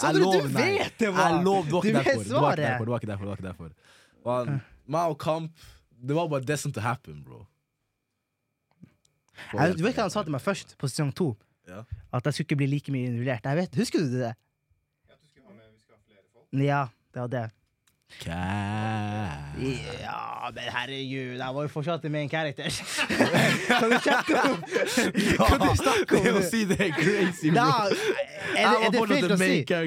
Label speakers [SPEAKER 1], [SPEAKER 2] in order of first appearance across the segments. [SPEAKER 1] Jeg
[SPEAKER 2] Sondre,
[SPEAKER 1] lover-
[SPEAKER 2] du
[SPEAKER 1] nei.
[SPEAKER 2] vet det var-
[SPEAKER 1] Jeg lover, det var
[SPEAKER 2] Du
[SPEAKER 1] ikke derfor.
[SPEAKER 2] vet
[SPEAKER 1] Det var ikke
[SPEAKER 2] svaret.
[SPEAKER 1] derfor. Det var ikke derfor. Det var ikke derfor. Og han- Meg og Kamp, det var bare destined to happen, bro.
[SPEAKER 2] Jeg, du vet hva han sa til meg først, på sesong to?
[SPEAKER 1] Ja.
[SPEAKER 2] At jeg skulle ikke bli like mye involvert. Jeg vet, Husker du det? Ja, det var det.
[SPEAKER 1] Kæ-
[SPEAKER 2] Ja, men herregud, jeg var jo fortsatt i main character. kan du sjekke om Kan du snakke om
[SPEAKER 1] Det å
[SPEAKER 2] det?
[SPEAKER 1] si det er crazy, bro.
[SPEAKER 2] Da, er, det, er det feil å si? Nei,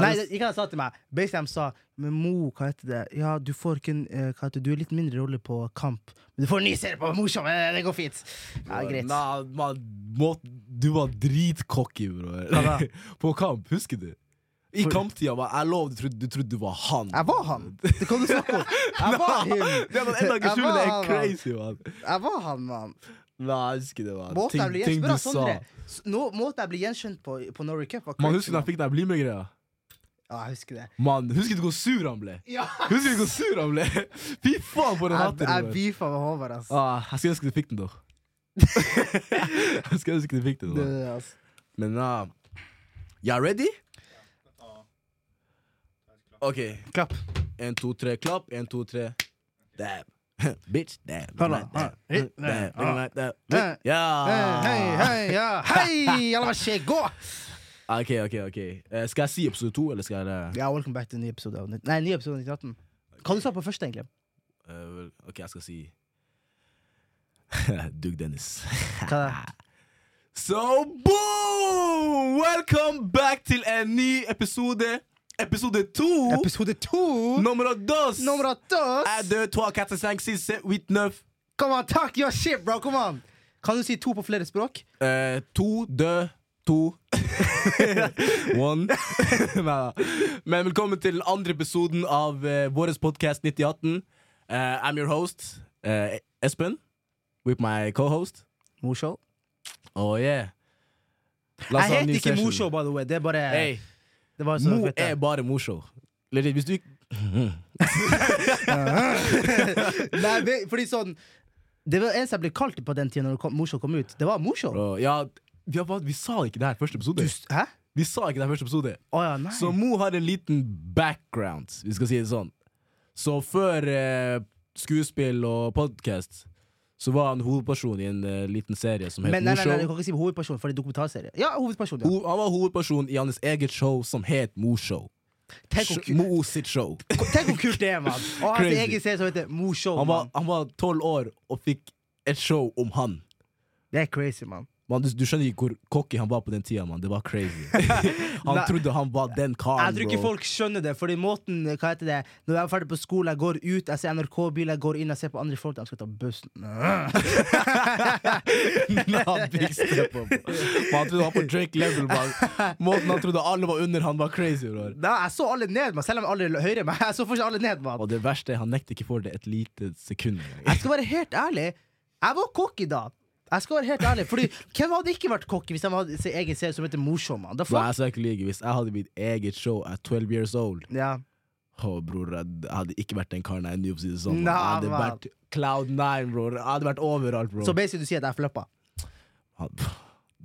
[SPEAKER 1] Nei,
[SPEAKER 2] det, ikke han sa til meg. Basically, han sa Men Mo, hva heter det? Ja, du får ikke en eh, hva heter det? Du har litt mindre rolle på Kamp, men du får en ny serie på Morsom! eh, Det går fint! Ja, greit.
[SPEAKER 1] Nei, man, må, du var dritcocky,
[SPEAKER 2] Hva da?
[SPEAKER 1] bror. På kamp, husker du? I
[SPEAKER 2] For-
[SPEAKER 1] kamptida var jeg lov, du trodde du, trodde du var han.
[SPEAKER 2] Jeg var han! Det kan du snakke om! Jeg var
[SPEAKER 1] Nei,
[SPEAKER 2] him!
[SPEAKER 1] Det var enda ikke
[SPEAKER 2] Jeg
[SPEAKER 1] skjul,
[SPEAKER 2] var
[SPEAKER 1] det
[SPEAKER 2] han,
[SPEAKER 1] er
[SPEAKER 2] mann.
[SPEAKER 1] crazy, mann.
[SPEAKER 2] Jeg var han, mann!
[SPEAKER 1] Nei, jeg husker det, mann.
[SPEAKER 2] Måten
[SPEAKER 1] Ting,
[SPEAKER 2] jeg ble
[SPEAKER 1] ting
[SPEAKER 2] gjenskjønt
[SPEAKER 1] du
[SPEAKER 2] på,
[SPEAKER 1] sa.
[SPEAKER 2] sånn Sondre S- nå- Måten jeg ble gjenskjønt på på Norway Cup, var
[SPEAKER 1] Man
[SPEAKER 2] crazy,
[SPEAKER 1] husker da
[SPEAKER 2] mann.
[SPEAKER 1] han fikk den bli-med-greia?
[SPEAKER 2] Ja, jeg husker det.
[SPEAKER 1] Mann, husker du hvor sur han ble?
[SPEAKER 2] Ja.
[SPEAKER 1] Husker du hvor sur han ble? Fy faen, for en
[SPEAKER 2] Jeg,
[SPEAKER 1] hater
[SPEAKER 2] jeg
[SPEAKER 1] du er.
[SPEAKER 2] beefa med Håvard, ass.
[SPEAKER 1] Ah, Jeg skulle ønske du fikk den, da. jeg skulle ønske du fikk den.
[SPEAKER 2] Det,
[SPEAKER 1] Da.
[SPEAKER 2] ass.
[SPEAKER 1] Men ja Y'all ready? OK.
[SPEAKER 2] Klapp.
[SPEAKER 1] Én, to, tre, klapp. Én, to, tre. Dab. Bitch, dab.
[SPEAKER 2] Hør da,
[SPEAKER 1] Dab,
[SPEAKER 2] hør.
[SPEAKER 1] dab, dab,
[SPEAKER 2] Ah.
[SPEAKER 1] dab, dab.
[SPEAKER 2] Eh. Hei,
[SPEAKER 1] Ja!
[SPEAKER 2] hei, hei, ja. Hei, alle vær skje, gå!
[SPEAKER 1] OK, OK. ok Eh, Skal jeg si episode to, eller skal jeg
[SPEAKER 2] Ja, welcome back til en ny episode av Nytt- Nei, ny episode av 1918. Hva du sa på første, egentlig?
[SPEAKER 1] Eh, vel, OK, jeg skal si Doug Dennis.
[SPEAKER 2] Hva da?
[SPEAKER 1] So boom! Welcome back til en ny episode. Episode to.
[SPEAKER 2] Episode to!
[SPEAKER 1] Nummer dos.
[SPEAKER 2] Nummer dos!
[SPEAKER 1] Er det 2, 4, 5, 6, 7, 8, 9
[SPEAKER 2] Come on, takk! Your shit, bro! Come on! Kan du si to på flere språk?
[SPEAKER 1] Eh, To, dø, to One Neida. Men velkommen til den andre episoden av eh, vår podcast 9018 Eh, I'm your host, eh, Espen With my co-host
[SPEAKER 2] Morshow.
[SPEAKER 1] Oh yeah La oss
[SPEAKER 2] Jeg
[SPEAKER 1] ha en ny
[SPEAKER 2] heter ikke
[SPEAKER 1] session.
[SPEAKER 2] Morshow, by the way. Det er bare
[SPEAKER 1] Hey,
[SPEAKER 2] det var så,
[SPEAKER 1] Mo
[SPEAKER 2] vet
[SPEAKER 1] er
[SPEAKER 2] jeg.
[SPEAKER 1] bare Moshow Legit, hvis du ikke
[SPEAKER 2] Nei, det- fordi sånn Det var eneste jeg ble kalt på den tida når kom, Morshow kom ut. Det var Morshow.
[SPEAKER 1] Bro, ja, vi, har bare- vi sa ikke det her i første
[SPEAKER 2] Du
[SPEAKER 1] episode
[SPEAKER 2] s- Hæ?
[SPEAKER 1] Vi sa ikke det her i første episode
[SPEAKER 2] Å ja, nei.
[SPEAKER 1] Så Mo har en liten background, vi skal si det sånn. Så før eh, skuespill og podkast, så var han hovedperson i en eh, liten serie som het
[SPEAKER 2] Men nei, nei, nei, du
[SPEAKER 1] Morshow.
[SPEAKER 2] kan ikke si hovedperson, for det er dokumentarserie. Ja, hovedperson. Ja.
[SPEAKER 1] Ho han var hovedperson i hans eget show som het Morshow.
[SPEAKER 2] Tenk, hvor
[SPEAKER 1] Sh-
[SPEAKER 2] ku-
[SPEAKER 1] Mo sitt show.
[SPEAKER 2] tenk hvor kult det er, mann! Og hans
[SPEAKER 1] Crazy.
[SPEAKER 2] egen serie som heter Morshow.
[SPEAKER 1] Han var-
[SPEAKER 2] mann.
[SPEAKER 1] han var tolv år og fikk et show om han.
[SPEAKER 2] Det er crazy, mann.
[SPEAKER 1] Man, du, du skjønner ikke hvor cocky han var på den tida, mann. Det var crazy. han
[SPEAKER 2] Nei.
[SPEAKER 1] trodde han var den
[SPEAKER 2] Jeg
[SPEAKER 1] karen,
[SPEAKER 2] tror ikke folk skjønner det, fordi måten Hva heter det? Når jeg er ferdig på skolen, jeg går ut, jeg ser NRK-bil, jeg går inn, jeg ser på andre folk, de skal ta bussen.
[SPEAKER 1] Nei, han fikk støt på, bro. Men han trodde han var på Drake level, man. Måten han trodde alle var under han, var crazy, bror.
[SPEAKER 2] Da, jeg så alle ned, man. selv om alle er høyere enn meg. Jeg så fortsatt alle ned, man.
[SPEAKER 1] Og det verste er, han nekter ikke for det et lite sekund. engang.
[SPEAKER 2] Jeg skal være helt ærlig. Jeg var cocky da. Jeg skal være helt ærlig Fordi Hvem hadde ikke vært cocky hvis de hadde sin egen serie som heter Morsom? man? Da
[SPEAKER 1] Bro,
[SPEAKER 2] faen-
[SPEAKER 1] jeg skal ikke lyge. Hvis jeg hadde mitt eget show at 12 years old,
[SPEAKER 2] Ja.
[SPEAKER 1] å, bror, jeg hadde ikke vært den karen jeg er nå, for å si det sånn.
[SPEAKER 2] Nei,
[SPEAKER 1] Jeg hadde
[SPEAKER 2] man.
[SPEAKER 1] vært Cloud 9, bror. Jeg hadde vært overalt, bror.
[SPEAKER 2] Så basically du sier at jeg floppa?
[SPEAKER 1] Han, pff,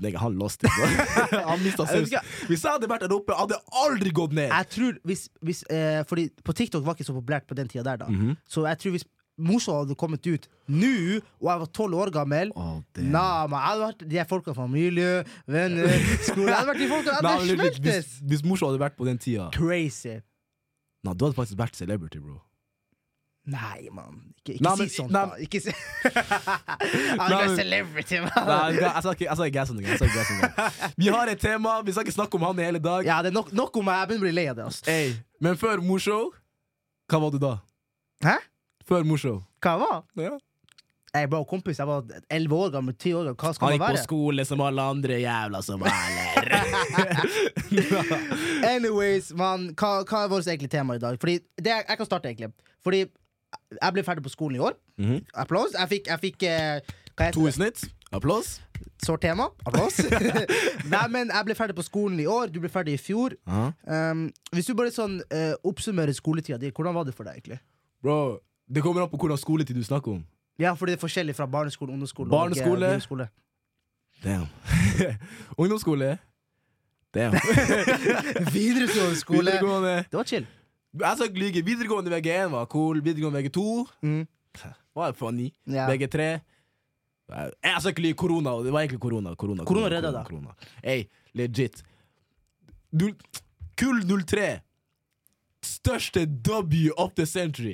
[SPEAKER 1] nigga, han lost it, bror. han mista
[SPEAKER 2] Jeg
[SPEAKER 1] saus. Hvis jeg hadde vært der oppe, jeg hadde aldri gått ned.
[SPEAKER 2] Jeg tror hvis, hvis eh, Fordi på TikTok var ikke så populært på den tida der, da.
[SPEAKER 1] Mhm.
[SPEAKER 2] Så jeg tror hvis Morsom hadde kommet ut nå, og jeg var tolv år gammel
[SPEAKER 1] Å, det-
[SPEAKER 2] Nei, men jeg hadde vært de her folka fra miljø, venner, skole Jeg hadde vært de folka
[SPEAKER 1] Nei,
[SPEAKER 2] der
[SPEAKER 1] men legit,
[SPEAKER 2] smeltes!
[SPEAKER 1] hvis, hvis morsom hadde vært på den tida
[SPEAKER 2] Crazy.
[SPEAKER 1] Nei, du hadde faktisk vært celebrity, bro.
[SPEAKER 2] Nei, mann. Ikke, ikke
[SPEAKER 1] Nei,
[SPEAKER 2] si
[SPEAKER 1] men-
[SPEAKER 2] sånt,
[SPEAKER 1] nei,
[SPEAKER 2] da. Ikke si Han
[SPEAKER 1] Nei,
[SPEAKER 2] er
[SPEAKER 1] men-
[SPEAKER 2] celebrity,
[SPEAKER 1] Nei,
[SPEAKER 2] mann!
[SPEAKER 1] jeg skal- jeg skal ikke- jeg skal ikke gasse noen. jeg skal ikke gasse noen. Vi har et tema, vi skal ikke snakke om han i hele dag.
[SPEAKER 2] Ja, det er nok, nok om meg. Jeg begynner å bli lei av det. ass.
[SPEAKER 1] Ey, men før morshow, hva var du da?
[SPEAKER 2] Hæ?
[SPEAKER 1] Før morshow.
[SPEAKER 2] Hva var
[SPEAKER 1] Ja.
[SPEAKER 2] Jeg var kompis. Jeg var elleve år gammel, ti år gammel. Hva skal
[SPEAKER 1] Han
[SPEAKER 2] man
[SPEAKER 1] gikk på
[SPEAKER 2] være?
[SPEAKER 1] skole som alle andre jævla somalier.
[SPEAKER 2] Anyways, mann, hva, hva er vårt egentlige tema i dag? Fordi det, jeg, jeg kan starte, egentlig. Fordi jeg ble ferdig på skolen i år.
[SPEAKER 1] Mhm.
[SPEAKER 2] Applaus. Jeg fikk, jeg fikk eh, hva heter
[SPEAKER 1] to i snitt. Applaus.
[SPEAKER 2] Sårt tema. Applaus. Nei, men jeg ble ferdig på skolen i år, du ble ferdig i fjor. Um, hvis du bare sånn eh, oppsummerer skoletida di, hvordan var det for deg? egentlig?
[SPEAKER 1] Bro, det kommer an på hvordan skoletid du snakker om.
[SPEAKER 2] Ja, fordi det er forskjellig fra barneskole, ungdomsskole eh,
[SPEAKER 1] Barneskole.
[SPEAKER 2] og eh, videregående skole.
[SPEAKER 1] Damn. Ungdomsskole. Det er jo
[SPEAKER 2] Videregående skole.
[SPEAKER 1] videregående.
[SPEAKER 2] Det var chill.
[SPEAKER 1] Jeg skal ikke lyge. Videregående VG1 var cool. Videregående VG2
[SPEAKER 2] Mm.
[SPEAKER 1] var jeg funny.
[SPEAKER 2] Ja.
[SPEAKER 1] VG3 Nei, Jeg skal ikke lyve. Korona. Det var egentlig korona. Korona,
[SPEAKER 2] Korona redda deg.
[SPEAKER 1] korona. Ey, legit. Null- Kull 03. Største W of the century.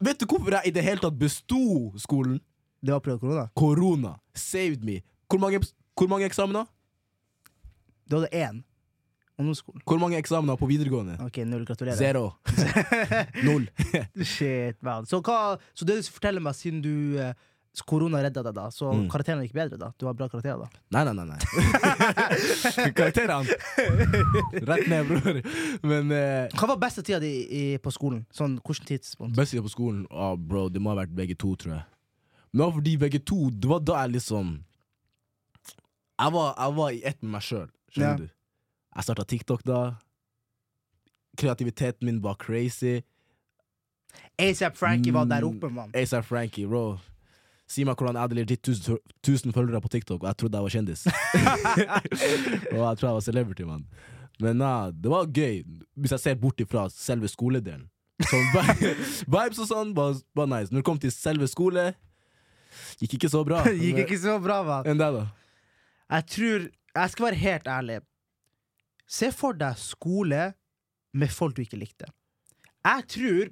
[SPEAKER 1] Vet du hvorfor jeg i det hele tatt besto skolen?
[SPEAKER 2] Det var prøve korona.
[SPEAKER 1] Korona saved me. Hvor mange, hvor mange eksamener?
[SPEAKER 2] Du hadde én ungdomsskolen.
[SPEAKER 1] Hvor mange eksamener på videregående?
[SPEAKER 2] Ok, null. Gratulerer.
[SPEAKER 1] Zero. Null.
[SPEAKER 2] Shit, man. Så, hva, så det du forteller meg, siden du eh, korona redda deg, da, så
[SPEAKER 1] Mm.
[SPEAKER 2] karakterene gikk bedre? da Du har bra karakterer, da?
[SPEAKER 1] Nei, nei, nei. nei. Karakterene. Rett ned, bror. Men eh,
[SPEAKER 2] Hva var beste tida di i, på skolen? Sånn, Hvilken tidspunkt?
[SPEAKER 1] Best tida på skolen? Ah, bro, det må ha vært begge to, tror jeg. Men det var fordi begge to Det var da jeg liksom Jeg var, jeg var i ett med meg sjøl, skjønner
[SPEAKER 2] Ja.
[SPEAKER 1] du. Jeg starta TikTok da. Kreativiteten min var crazy.
[SPEAKER 2] ASAP Frankie var der
[SPEAKER 1] Mm.
[SPEAKER 2] oppe, mann.
[SPEAKER 1] ASAP Frankie, bro. Si meg hvordan jeg hadde legit 1000 føl- 1000 følgere på TikTok, og jeg trodde jeg var kjendis. og jeg tror jeg var celebrity, mann. Men nei, det var gøy, hvis jeg ser bort ifra selve skoledelen. Sånn, vi- vibes og sånn var, var nice. Når det kom til selve skole, gikk ikke så bra.
[SPEAKER 2] Det gikk ikke så bra, mann.
[SPEAKER 1] Enn deg, da?
[SPEAKER 2] Jeg tror Jeg skal være helt ærlig. Se for deg skole med folk du ikke likte. Jeg tror,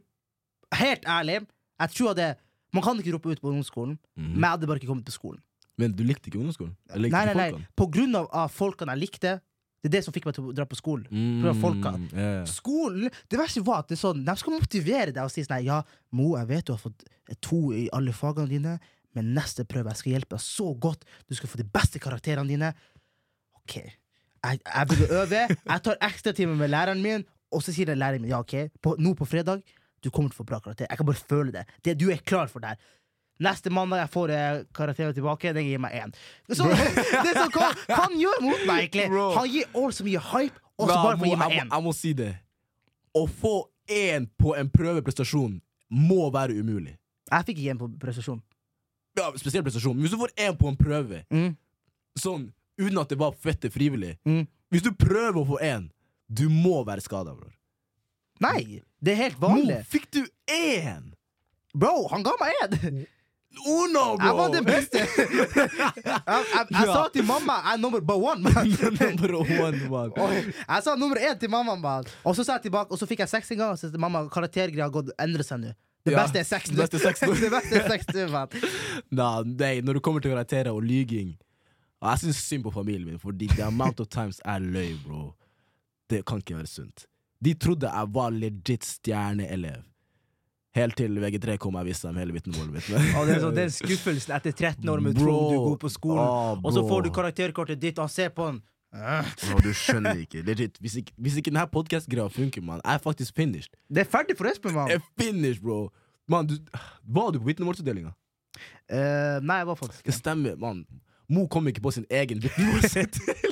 [SPEAKER 2] helt ærlig, jeg tror at det Man kan ikke droppe ut på ungdomsskolen,
[SPEAKER 1] Mhm.
[SPEAKER 2] men jeg hadde bare ikke kommet på skolen.
[SPEAKER 1] Men du likte ikke ungdomsskolen? Jeg likte
[SPEAKER 2] Mm. Nei,
[SPEAKER 1] ikke
[SPEAKER 2] nei, nei.
[SPEAKER 1] folkene.
[SPEAKER 2] På grunn av, av folkene jeg likte. Det er det som fikk meg til å dra på skolen.
[SPEAKER 1] Mm,
[SPEAKER 2] Prøv folka.
[SPEAKER 1] ja, ja.
[SPEAKER 2] Skolen, Det verste var at det er sånn, de skal motivere deg og si sånn her, Ja, Mo, jeg vet du har fått to i alle fagene dine, men neste prøve jeg skal hjelpe deg så godt. Du skal få de beste karakterene dine. OK. Jeg, jeg begynner å øve. Jeg tar ekstratimer med læreren min, og så sier den læreren min ja, OK, på, nå på fredag du kommer til å få bra karakter. Jeg kan bare føle det. det du er klar for det her. Neste mandag jeg får eh, karakterene tilbake. Den gir meg én. Så, det er sånn, hva hva han gjør mot meg, egentlig?
[SPEAKER 1] Bro.
[SPEAKER 2] Han gir all så mye hype, og så
[SPEAKER 1] Men
[SPEAKER 2] bare
[SPEAKER 1] jeg
[SPEAKER 2] får han
[SPEAKER 1] må-
[SPEAKER 2] gi meg
[SPEAKER 1] jeg,
[SPEAKER 2] én.
[SPEAKER 1] må- jeg må si det. Å få én på en prøveprestasjon må være umulig.
[SPEAKER 2] Jeg fikk igjen på prestasjon.
[SPEAKER 1] Ja, Spesiell prestasjon. Men hvis du får én på en prøve,
[SPEAKER 2] Mm.
[SPEAKER 1] sånn uten at det var fette frivillig
[SPEAKER 2] Mm.
[SPEAKER 1] Hvis du prøver å få én, du må være skada, bror.
[SPEAKER 2] Nei, det er helt
[SPEAKER 1] Nå
[SPEAKER 2] vanlig.
[SPEAKER 1] fikk du én!
[SPEAKER 2] Bro, han ga meg én!
[SPEAKER 1] Uno, bro!
[SPEAKER 2] Jeg var den beste. Jeg, jeg, jeg
[SPEAKER 1] Ja.
[SPEAKER 2] sa til mamma jeg er number but one. Man.
[SPEAKER 1] Number one, man.
[SPEAKER 2] Og Jeg sa nummer én til mamma, man. og så sa jeg tilbake, og så fikk jeg seks en gang. Og så sa jeg, mamma, karaktergreia har gått endrer seg nå. Det
[SPEAKER 1] Ja,
[SPEAKER 2] beste er seks
[SPEAKER 1] det
[SPEAKER 2] nå.
[SPEAKER 1] beste er seks nå.
[SPEAKER 2] Det beste er seks nå, man.
[SPEAKER 1] Nah, nei, når det kommer til karakterer og lyging og Jeg syns synd på familien min, fordi the amount of times jeg løy, bro. Det kan ikke være sunt. De trodde jeg var legit stjerneelev. Helt til VG3 kom og jeg viste dem hele vitnemålet mitt.
[SPEAKER 2] Og det er sånn, den skuffelsen etter 13 år med
[SPEAKER 1] Bro.
[SPEAKER 2] tro du er god på skolen,
[SPEAKER 1] Ah,
[SPEAKER 2] og så
[SPEAKER 1] bro.
[SPEAKER 2] får du karakterkortet ditt, og han ser på den.
[SPEAKER 1] Bro, du skjønner ikke. Legit. Hvis ikke, hvis ikke denne podkast-greia funker, mann, jeg er faktisk finished.
[SPEAKER 2] Det er ferdig for Espen, mann.
[SPEAKER 1] Jeg er finished, bro! Mann, du, var du på vitnemålsutdelinga?
[SPEAKER 2] Eh, nei, jeg var faktisk
[SPEAKER 1] Det stemmer, mann. Mo kom ikke på sin egen vitnemålsutdeling.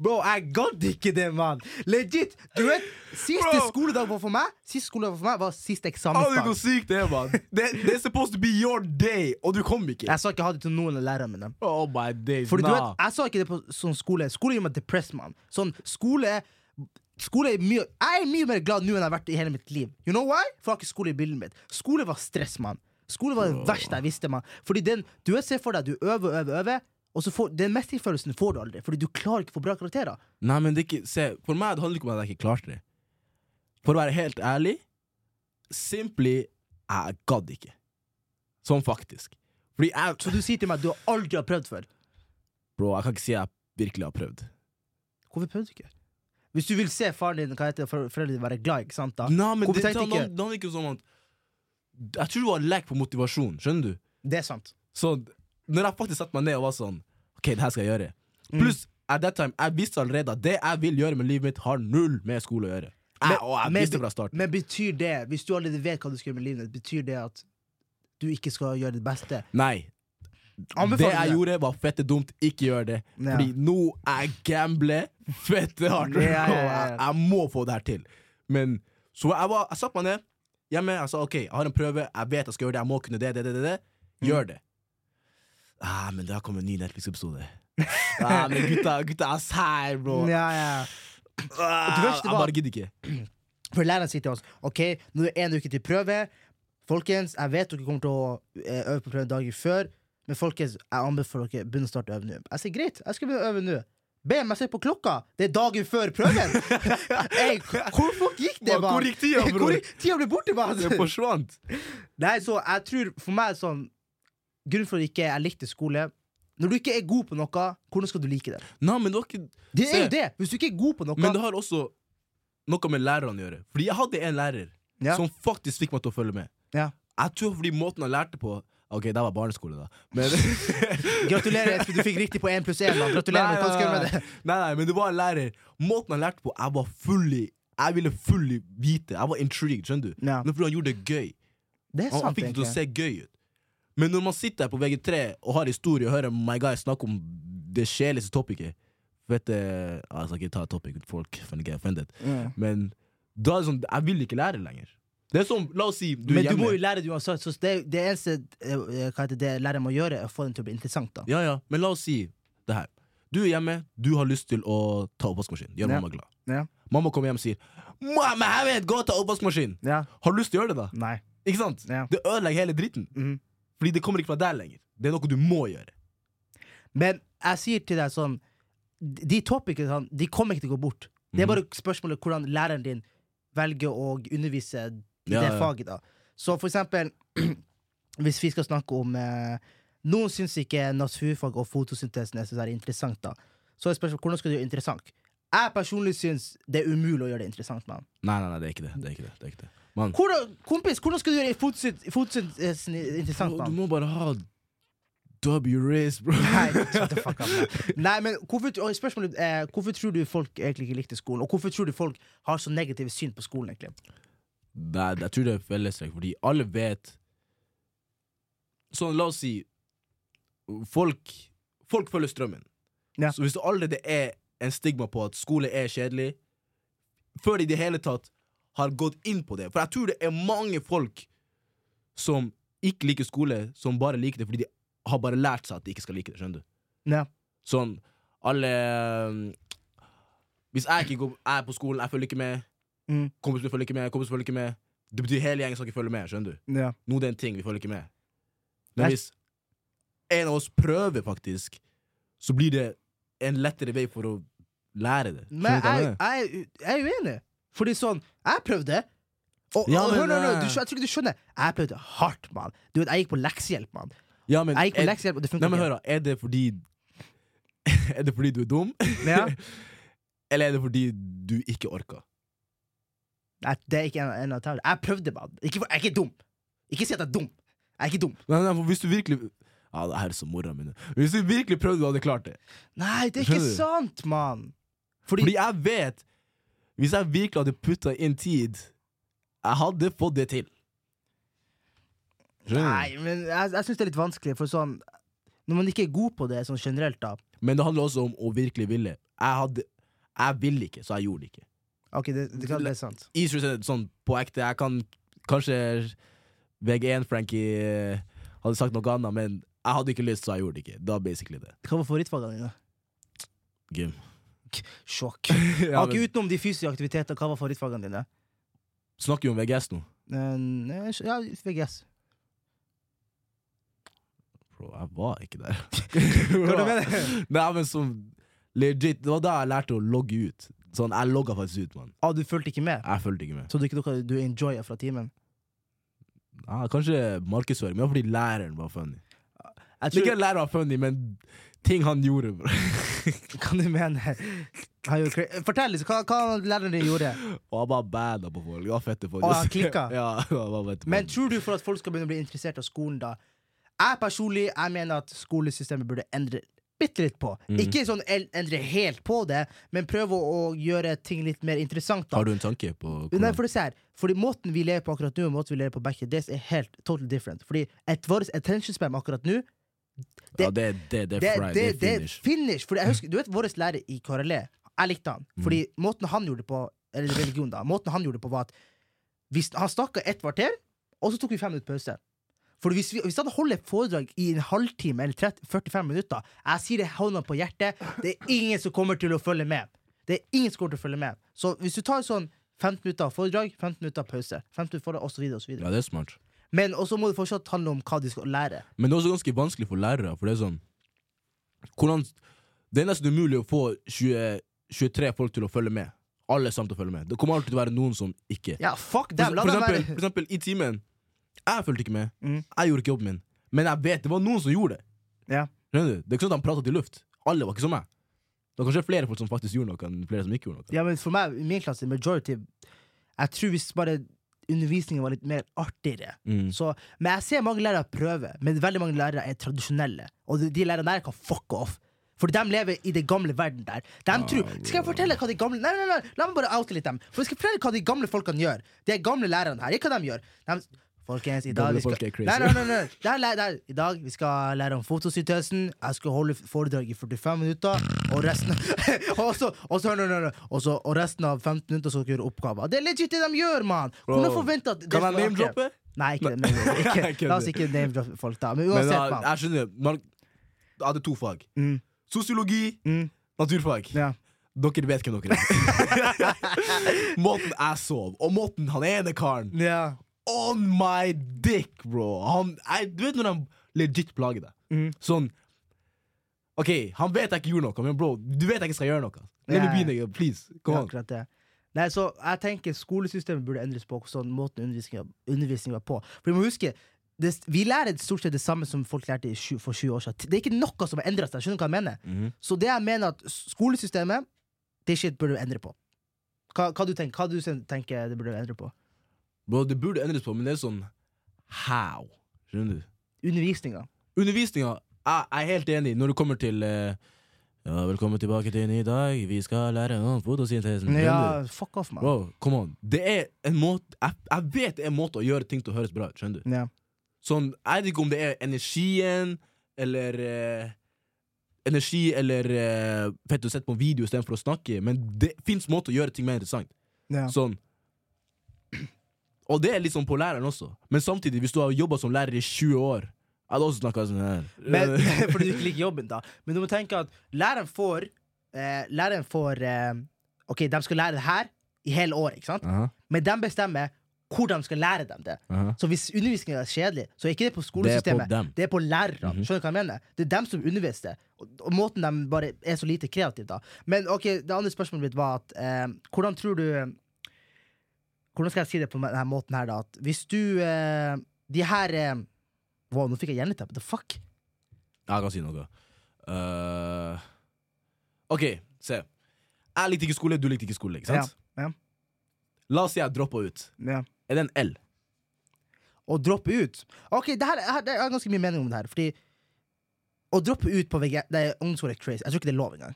[SPEAKER 2] Bro, jeg gadd ikke det, mann! Legit! Du vet, Siste
[SPEAKER 1] Bro.
[SPEAKER 2] skoledag var for meg Siste skoledag var for meg var siste
[SPEAKER 1] Aner du hvor
[SPEAKER 2] eksamensdag.
[SPEAKER 1] sykt det er, mann? Det, det er supposed to be your day, og du kom ikke.
[SPEAKER 2] Jeg sa ikke ha det til noen av lærerne mine.
[SPEAKER 1] Oh my days,
[SPEAKER 2] Fordi du
[SPEAKER 1] nah.
[SPEAKER 2] vet, Jeg sa ikke det på sånn skole. Skole gjør meg depressed, mann. Sånn, skole Skole er mye Jeg er mye mer glad nå enn jeg har vært i hele mitt liv. You know why? For jeg har ikke skole i bildet mitt. Skole var stress, mann. Skole var det verste jeg visste, mann. Fordi den Du vet, se for deg, du øver, øver, øver, og så får den mestringsfølelsen får du aldri. Fordi du klarer ikke å få bra karakterer.
[SPEAKER 1] Nei, men det er ikke, se, For meg det handler ikke om at jeg ikke klarte det. For å være helt ærlig Simply jeg gadd ikke. Sånn faktisk. Fordi jeg
[SPEAKER 2] Så du sier til meg at du aldri har prøvd før.
[SPEAKER 1] Bro, jeg kan ikke si jeg virkelig har prøvd.
[SPEAKER 2] Hvorfor prøvde du ikke? Hvis du vil se faren din hva heter, det, for, foreldrene dine være glad, ikke sant da?
[SPEAKER 1] Nei, men
[SPEAKER 2] Hvorfor
[SPEAKER 1] det, det,
[SPEAKER 2] tenkte
[SPEAKER 1] handler- det handler ikke om sånn at Jeg tror det var lek på motivasjon, skjønner du?
[SPEAKER 2] Det er sant.
[SPEAKER 1] Så når jeg faktisk satte meg ned og var sånn OK, det her skal jeg gjøre. Pluss, at that time, jeg visste allerede at det jeg vil gjøre med livet mitt, har null med skole å gjøre. Jeg, og jeg
[SPEAKER 2] men-
[SPEAKER 1] visste fra starten.
[SPEAKER 2] Men betyr det, hvis du allerede vet hva du skal gjøre med livet ditt, betyr det at du ikke skal gjøre det beste?
[SPEAKER 1] Nei. det
[SPEAKER 2] Anbefaler du
[SPEAKER 1] jeg
[SPEAKER 2] det?
[SPEAKER 1] gjorde, var fette dumt. Ikke gjør det.
[SPEAKER 2] Ja.
[SPEAKER 1] Fordi nå er jeg gambler fette hardt.
[SPEAKER 2] Ja, ja, ja, ja.
[SPEAKER 1] Og jeg, jeg må få det her til. Men Så jeg, var, jeg satte meg ned
[SPEAKER 2] Mm.
[SPEAKER 1] hjemme. Jeg sa OK, jeg har en prøve. Jeg vet jeg skal gjøre det. Jeg må kunne det, det, det, det. det. Gjør det. ah, men det har kommet en ny Netflix-episode. ah, men gutta, gutta er sær, bro.
[SPEAKER 2] Ja, ja.
[SPEAKER 1] Ah,
[SPEAKER 2] Det verste
[SPEAKER 1] jeg
[SPEAKER 2] var-
[SPEAKER 1] bare gidder ikke.
[SPEAKER 2] For læreren sier til oss Ok, nå er det en uke til prøve. Folkens, jeg vet dere kommer til å eh, øve på prøven dagen før, men folkens, jeg anbefaler dere begynn å starte å øve nå. Jeg sier greit, jeg skal begynne å øve nå. BM, jeg ser på klokka! Det er dagen før prøven! Ey, hvor fort gikk det,
[SPEAKER 1] Hva,
[SPEAKER 2] mann?
[SPEAKER 1] hvor gikk tida, bror?
[SPEAKER 2] Hvor gikk- Tida ble borte,
[SPEAKER 1] Det
[SPEAKER 2] mann!
[SPEAKER 1] forsvant.
[SPEAKER 2] Nei, så jeg tror for meg er sånn Grunnen for at jeg ikke jeg likte skole Når du ikke er god på noe, hvordan skal du like det?
[SPEAKER 1] Nei, men det var ikke
[SPEAKER 2] Det er
[SPEAKER 1] Se.
[SPEAKER 2] jo det! Hvis du ikke er god på noe
[SPEAKER 1] Men det har også noe med læreren å gjøre. Fordi jeg hadde en lærer
[SPEAKER 2] Ja.
[SPEAKER 1] som faktisk fikk meg til å følge med.
[SPEAKER 2] Ja.
[SPEAKER 1] Jeg tror fordi måten han lærte på Ok, det var barneskole, da. Men,
[SPEAKER 2] Gratulerer, Espen, du fikk riktig på én pluss én. mann. Gratulerer. Hva skal du gjøre med det?
[SPEAKER 1] nei, nei, men det var en lærer. Måten han lærte på, jeg var full i Jeg ville full i vite. Jeg var intrigued, skjønner du.
[SPEAKER 2] Ja.
[SPEAKER 1] Men fordi han gjorde det gøy.
[SPEAKER 2] Det er
[SPEAKER 1] Han, han
[SPEAKER 2] sant,
[SPEAKER 1] fikk det til å
[SPEAKER 2] egentlig.
[SPEAKER 1] se gøy ut. Men når man sitter her på VG3 og har historie og hører my guy snakke om det kjedeligste topicet Vet du, Ah, Jeg skal ikke ta topic, folk kan get offended.
[SPEAKER 2] Mm.
[SPEAKER 1] Men da er det sånn, jeg vil ikke lære lenger. Det er som, La oss si du
[SPEAKER 2] Men
[SPEAKER 1] er
[SPEAKER 2] du
[SPEAKER 1] hjemme.
[SPEAKER 2] må jo lære det uansett. Så det, det eneste eh, hva heter det læreren må gjøre, er å få den til å bli interessant. da
[SPEAKER 1] Ja, ja, Men la oss si det her. Du er hjemme, du har lyst til å ta oppvaskmaskinen. Gjør
[SPEAKER 2] Ja.
[SPEAKER 1] mamma glad.
[SPEAKER 2] Ja.
[SPEAKER 1] Mamma kommer hjem og sier 'Mamma, jeg vet, gå og ta oppvaskmaskinen'.
[SPEAKER 2] Ja.
[SPEAKER 1] Har du lyst til å gjøre det, da?
[SPEAKER 2] Nei.
[SPEAKER 1] Ikke sant?
[SPEAKER 2] Ja.
[SPEAKER 1] Det ødelegger hele dritten.
[SPEAKER 2] Mhm.
[SPEAKER 1] Fordi det kommer ikke fra deg lenger. Det er noe du må gjøre.
[SPEAKER 2] Men jeg sier til deg sånn De de topicene sånn, de kommer ikke til å gå bort. Det er
[SPEAKER 1] Mm.
[SPEAKER 2] bare spørsmålet hvordan læreren din velger å undervise i
[SPEAKER 1] Ja,
[SPEAKER 2] det
[SPEAKER 1] ja.
[SPEAKER 2] faget. da Så for eksempel, hvis vi skal snakke om eh, Noen syns ikke naturfag og fotosyntesen er så særlig interessant. da Så er spørsmålet hvordan skal du gjøre det interessant? Jeg personlig syns det er umulig å gjøre det interessant. Man.
[SPEAKER 1] Nei, nei, nei, det er ikke det. det, er ikke det, det, er ikke det. Mann,
[SPEAKER 2] Hvordan, kompis, hvordan skal du gjøre fotsynt- fotosyntesen interessant?
[SPEAKER 1] bro, du
[SPEAKER 2] Man?
[SPEAKER 1] må bare ha W-race, bro.
[SPEAKER 2] Nei, shut the fuck up. man. Nei, men hvorfor, og spørsmålet, eh, hvorfor tror du folk egentlig ikke likte skolen? Og hvorfor tror du folk har så negative syn på skolen? egentlig?
[SPEAKER 1] Nei, jeg tror det er fellestrekk, fordi alle vet Sånn, la oss si Folk, folk følger strømmen.
[SPEAKER 2] Ja.
[SPEAKER 1] Så hvis det allerede er en stigma på at skole er kjedelig, før de i det hele tatt har gått inn på det For jeg tror det er mange folk som ikke liker skole, som bare liker det fordi de har bare lært seg at de ikke skal like det. skjønner du?
[SPEAKER 2] Ja.
[SPEAKER 1] Sånn, alle um, Hvis jeg ikke går, jeg er på skolen, jeg følger ikke med
[SPEAKER 2] Mm.
[SPEAKER 1] Kompis følger ikke med, kompis følger ikke med Det betyr hele gjengen skal ikke følge med, skjønner du
[SPEAKER 2] Ja.
[SPEAKER 1] Nå er det en ting, vi følger ikke med
[SPEAKER 2] Nei.
[SPEAKER 1] Men hvis en av oss prøver faktisk Så blir det en lettere vei for å lære det
[SPEAKER 2] Men
[SPEAKER 1] Skjønner du hva
[SPEAKER 2] jeg,
[SPEAKER 1] mener?
[SPEAKER 2] jeg, er u- jeg er uenig. Fordi sånn, jeg prøvde. Og,
[SPEAKER 1] Ja,
[SPEAKER 2] og,
[SPEAKER 1] men,
[SPEAKER 2] hør, nå, nå,
[SPEAKER 1] eh,
[SPEAKER 2] du, skjø- jeg tror ikke du skjønner. Jeg prøvde hardt, mann. Du vet, Jeg gikk på leksehjelp, mann.
[SPEAKER 1] ja, men,
[SPEAKER 2] Jeg gikk på
[SPEAKER 1] er,
[SPEAKER 2] leksehjelp, og det
[SPEAKER 1] Nei,
[SPEAKER 2] funka
[SPEAKER 1] men
[SPEAKER 2] ikke.
[SPEAKER 1] hør da, er det fordi Er det fordi du er dum?
[SPEAKER 2] Ja.
[SPEAKER 1] Eller er det fordi du ikke orker?
[SPEAKER 2] Nei, Det er ikke en, en av tallene. Jeg prøvde, mann. Ikke, for- jeg er ikke dum. Ikke si at jeg er dum. Jeg er ikke dum.
[SPEAKER 1] Nei, nei, for hvis du virkelig Ja, det her er så mora mine Hvis du virkelig prøvde, du hadde klart det
[SPEAKER 2] Nei, det er ikke
[SPEAKER 1] Skjønner du?
[SPEAKER 2] sant, mann.
[SPEAKER 1] Fordi jeg vet Hvis jeg virkelig hadde putta inn tid Jeg hadde fått det til. Skjønner du?
[SPEAKER 2] Nei, men jeg, jeg syns det er litt vanskelig, for sånn Når man ikke er god på det sånn generelt, da
[SPEAKER 1] Men det handler også om å virkelig ville. Jeg hadde Jeg ville ikke, så jeg gjorde det ikke.
[SPEAKER 2] Ok, det, det, kan, det er sant.
[SPEAKER 1] Easter er sånn på ekte. Jeg kan kanskje VG1-Frankie eh, hadde sagt noe annet, men jeg hadde ikke lyst, så jeg gjorde det ikke. Da basically det.
[SPEAKER 2] Hva var favorittfagene dine?
[SPEAKER 1] Gym.
[SPEAKER 2] K- Sjokk.
[SPEAKER 1] ja,
[SPEAKER 2] Ok,
[SPEAKER 1] men,
[SPEAKER 2] utenom de fysiske aktivitetene, hva var favorittfagene dine?
[SPEAKER 1] snakker jo om VGS nå.
[SPEAKER 2] Eh, nei, ja, VGS.
[SPEAKER 1] Bro, jeg var ikke der.
[SPEAKER 2] Hva du mener du?
[SPEAKER 1] Nei, men som Legit, Det var da jeg lærte å logge ut. Sånn, Jeg logga faktisk ut, mann.
[SPEAKER 2] Ah, du fulgte ikke med?
[SPEAKER 1] Jeg fulgte ikke med.
[SPEAKER 2] Så du ikke noe du enjoya fra timen?
[SPEAKER 1] Ja, kanskje markedsføring, men det var fordi læreren var funny. Ikke
[SPEAKER 2] Jeg tror,
[SPEAKER 1] at læreren var funny, men ting han gjorde. Bro.
[SPEAKER 2] Hva du mener Han gjorde cra- Fortell, liksom, hva, hva læreren din gjorde?
[SPEAKER 1] Og han bare bada på folk. Det var fette folk.
[SPEAKER 2] Og han klikka.
[SPEAKER 1] ja, han var fette folk.
[SPEAKER 2] Men tror du for at folk skal begynne å bli interessert av skolen, da? Jeg personlig jeg mener at skolesystemet burde endre bitte litt på.
[SPEAKER 1] Mm.
[SPEAKER 2] Ikke sånn el- endre helt på det, men prøve å å gjøre ting litt mer interessant. da
[SPEAKER 1] Har du en tanke på hvordan
[SPEAKER 2] Nei, for det er Fordi måten vi lever på akkurat nå, og måten vi lever på back in the days, er helt totally different. Fordi et vårt attention spam akkurat nå
[SPEAKER 1] det, ja, det, det, det,
[SPEAKER 2] det,
[SPEAKER 1] er fried,
[SPEAKER 2] det,
[SPEAKER 1] det,
[SPEAKER 2] det
[SPEAKER 1] er
[SPEAKER 2] er
[SPEAKER 1] finish.
[SPEAKER 2] finish. Fordi jeg husker, du vet vår lærer i KRLE, E? jeg likte han.
[SPEAKER 1] Mm.
[SPEAKER 2] Fordi måten han gjorde det på, eller religion da, måten han gjorde det på var at vi, sn- han snakka et kvarter, og så tok vi fem minutter pause. For hvis, vi, hvis han holder et foredrag i en halvtime eller 30, 45 minutter Jeg sier det hånda på hjertet, det er ingen som kommer til å følge med. Det er ingen som kommer til å følge med. Så hvis du tar sånn 15 minutter foredrag, 15 minutter pause, 15 minutter foredrag, og så videre, og så videre.
[SPEAKER 1] Ja, det er smart.
[SPEAKER 2] Men også må det fortsatt handle om hva de skal lære.
[SPEAKER 1] Men det er også ganske vanskelig for lærere, for det er sånn hvordan, Det er nesten umulig å få 20, 23 folk til å følge med. Alle sammen til å følge med. Det kommer alltid til å være noen som ikke.
[SPEAKER 2] Ja, fuck
[SPEAKER 1] For,
[SPEAKER 2] dem! La
[SPEAKER 1] for,
[SPEAKER 2] dem
[SPEAKER 1] eksempel,
[SPEAKER 2] være
[SPEAKER 1] for eksempel, i timen. Jeg fulgte ikke med.
[SPEAKER 2] Mm.
[SPEAKER 1] Jeg gjorde ikke jobben min. Men jeg vet det var noen som gjorde det.
[SPEAKER 2] Ja.
[SPEAKER 1] Skjønner du? Det er ikke sånn at han pratet i luft. Alle var ikke som meg. Det var kanskje flere folk som faktisk gjorde noe, enn flere som ikke gjorde noe.
[SPEAKER 2] Ja, men for meg, i min klasse, majority Jeg tror hvis bare undervisningen var litt mer artigere
[SPEAKER 1] Mm.
[SPEAKER 2] så, Men jeg ser mange lærere prøve, men veldig mange lærere er tradisjonelle. Og de, de lærerne der kan fucke off. For de lever i den gamle verden der. De
[SPEAKER 1] Ah,
[SPEAKER 2] tror, skal jeg fortelle hva de gamle Nei, nei, nei, la meg bare oute litt dem. For jeg skal fortelle hva de gamle folkene gjør. De gamle lærerne her, ikke hva de gjør. De, folkens, i dag
[SPEAKER 1] Gamle
[SPEAKER 2] vi skal,
[SPEAKER 1] folk er crazy.
[SPEAKER 2] Nei, nei, nei, nei. Det er, læ- det er, I dag vi skal lære om fotosyntesen. Jeg skal holde foredrag i 45 minutter, og resten Og så, og så, nei, nei, nei. Og så og resten av 15 minutter skal dere gjøre oppgaver. Det er legit det de gjør, mann! Hvordan
[SPEAKER 1] Bro,
[SPEAKER 2] forventer at det
[SPEAKER 1] Kan jeg
[SPEAKER 2] skal være artig?
[SPEAKER 1] name-droppe?
[SPEAKER 2] Nei, ikke, nei, nei, nei,
[SPEAKER 1] Jeg
[SPEAKER 2] ikke.
[SPEAKER 1] kødder.
[SPEAKER 2] la oss ikke name-droppe folk, da. Men
[SPEAKER 1] Men
[SPEAKER 2] uansett,
[SPEAKER 1] jeg,
[SPEAKER 2] mann.
[SPEAKER 1] jeg skjønner. Man, jeg hadde to fag.
[SPEAKER 2] Mm,
[SPEAKER 1] Sosiologi,
[SPEAKER 2] mm,
[SPEAKER 1] naturfag.
[SPEAKER 2] ja.
[SPEAKER 1] Dere vet hvem dere er. måten jeg sov, og måten han ene karen
[SPEAKER 2] ja.
[SPEAKER 1] On my dick, bro! Han, jeg, du vet når han legit plager deg.
[SPEAKER 2] Mm.
[SPEAKER 1] Sånn OK, han vet jeg ikke gjorde noe, men bro, du vet jeg ikke skal gjøre noe. Let me
[SPEAKER 2] Ja.
[SPEAKER 1] be nigga, please.
[SPEAKER 2] Det
[SPEAKER 1] Come
[SPEAKER 2] er
[SPEAKER 1] on.
[SPEAKER 2] akkurat det. Nei, så jeg tenker Skolesystemet burde endres på sånn måten undervisningen undervisningen var på. For vi må huske det, vi lærer stort sett det samme som folk lærte i sju- for 20 år siden. Det er ikke noe som har endra seg. skjønner du hva jeg mener?
[SPEAKER 1] Mhm.
[SPEAKER 2] Så det jeg mener at skolesystemet, det shit burde du endre på. Hva, hva, du tenker, hva du sen- tenker det burde endre på?
[SPEAKER 1] Bro, Det burde endres på, men det er sånn How? Skjønner du?
[SPEAKER 2] Undervisninga.
[SPEAKER 1] Undervisninga jeg jeg er helt enig når det kommer til eh, Ja, velkommen tilbake til en ny dag. Vi skal lære om fotosyntesen. Skjønner Mm, du?
[SPEAKER 2] Ja, fuck off, mann.
[SPEAKER 1] Bro, come on. Det er en måte jeg, jeg vet det er en måte å gjøre ting til å høres bra ut. Skjønner du?
[SPEAKER 2] Ja.
[SPEAKER 1] Sånn, Jeg vet ikke om det er energien eller eh, Energi eller eh, fett å sette på en video istedenfor å snakke, men det fins måter å gjøre ting mer interessant.
[SPEAKER 2] Ja.
[SPEAKER 1] Sånn Og det er litt sånn på læreren også. Men samtidig, hvis du har jobba som lærer i 20 år Jeg hadde også snakka sånn her.
[SPEAKER 2] Men, fordi du ikke liker jobben, da. Men du må tenke at læreren får eh, Læreren får eh, Ok, de skal lære det her i hele året, ikke sant?
[SPEAKER 1] Aha,
[SPEAKER 2] Men de bestemmer hvor de skal lære dem det.
[SPEAKER 1] aha.
[SPEAKER 2] Så hvis undervisningen er kjedelig, så er ikke det på Mhm.
[SPEAKER 1] Det er på
[SPEAKER 2] skolesystemet.
[SPEAKER 1] dem.
[SPEAKER 2] Det er på lærerne. Skjønner du hva jeg mener? Det er dem som underviser. Og, og måten de bare er så lite kreative, da. Men ok, det andre spørsmålet mitt var at eh, hvordan tror du Hvordan skal jeg si det på denne måten her, da? At hvis du eh, De her eh, Wow, nå fikk jeg hjerneteppe. The fuck?
[SPEAKER 1] Jeg kan si noe. Eh, OK, se. Jeg likte ikke skole, du likte ikke skole. ikke sant?
[SPEAKER 2] Ja, ja.
[SPEAKER 1] La oss si jeg droppa ut.
[SPEAKER 2] Ja.
[SPEAKER 1] Er det en L?
[SPEAKER 2] Å droppe ut. Ok, det her, her, det er ganske mye mening om det her. Fordi å droppe ut på VG Det er ungdomsskole er crazy. Jeg tror ikke det er lov engang.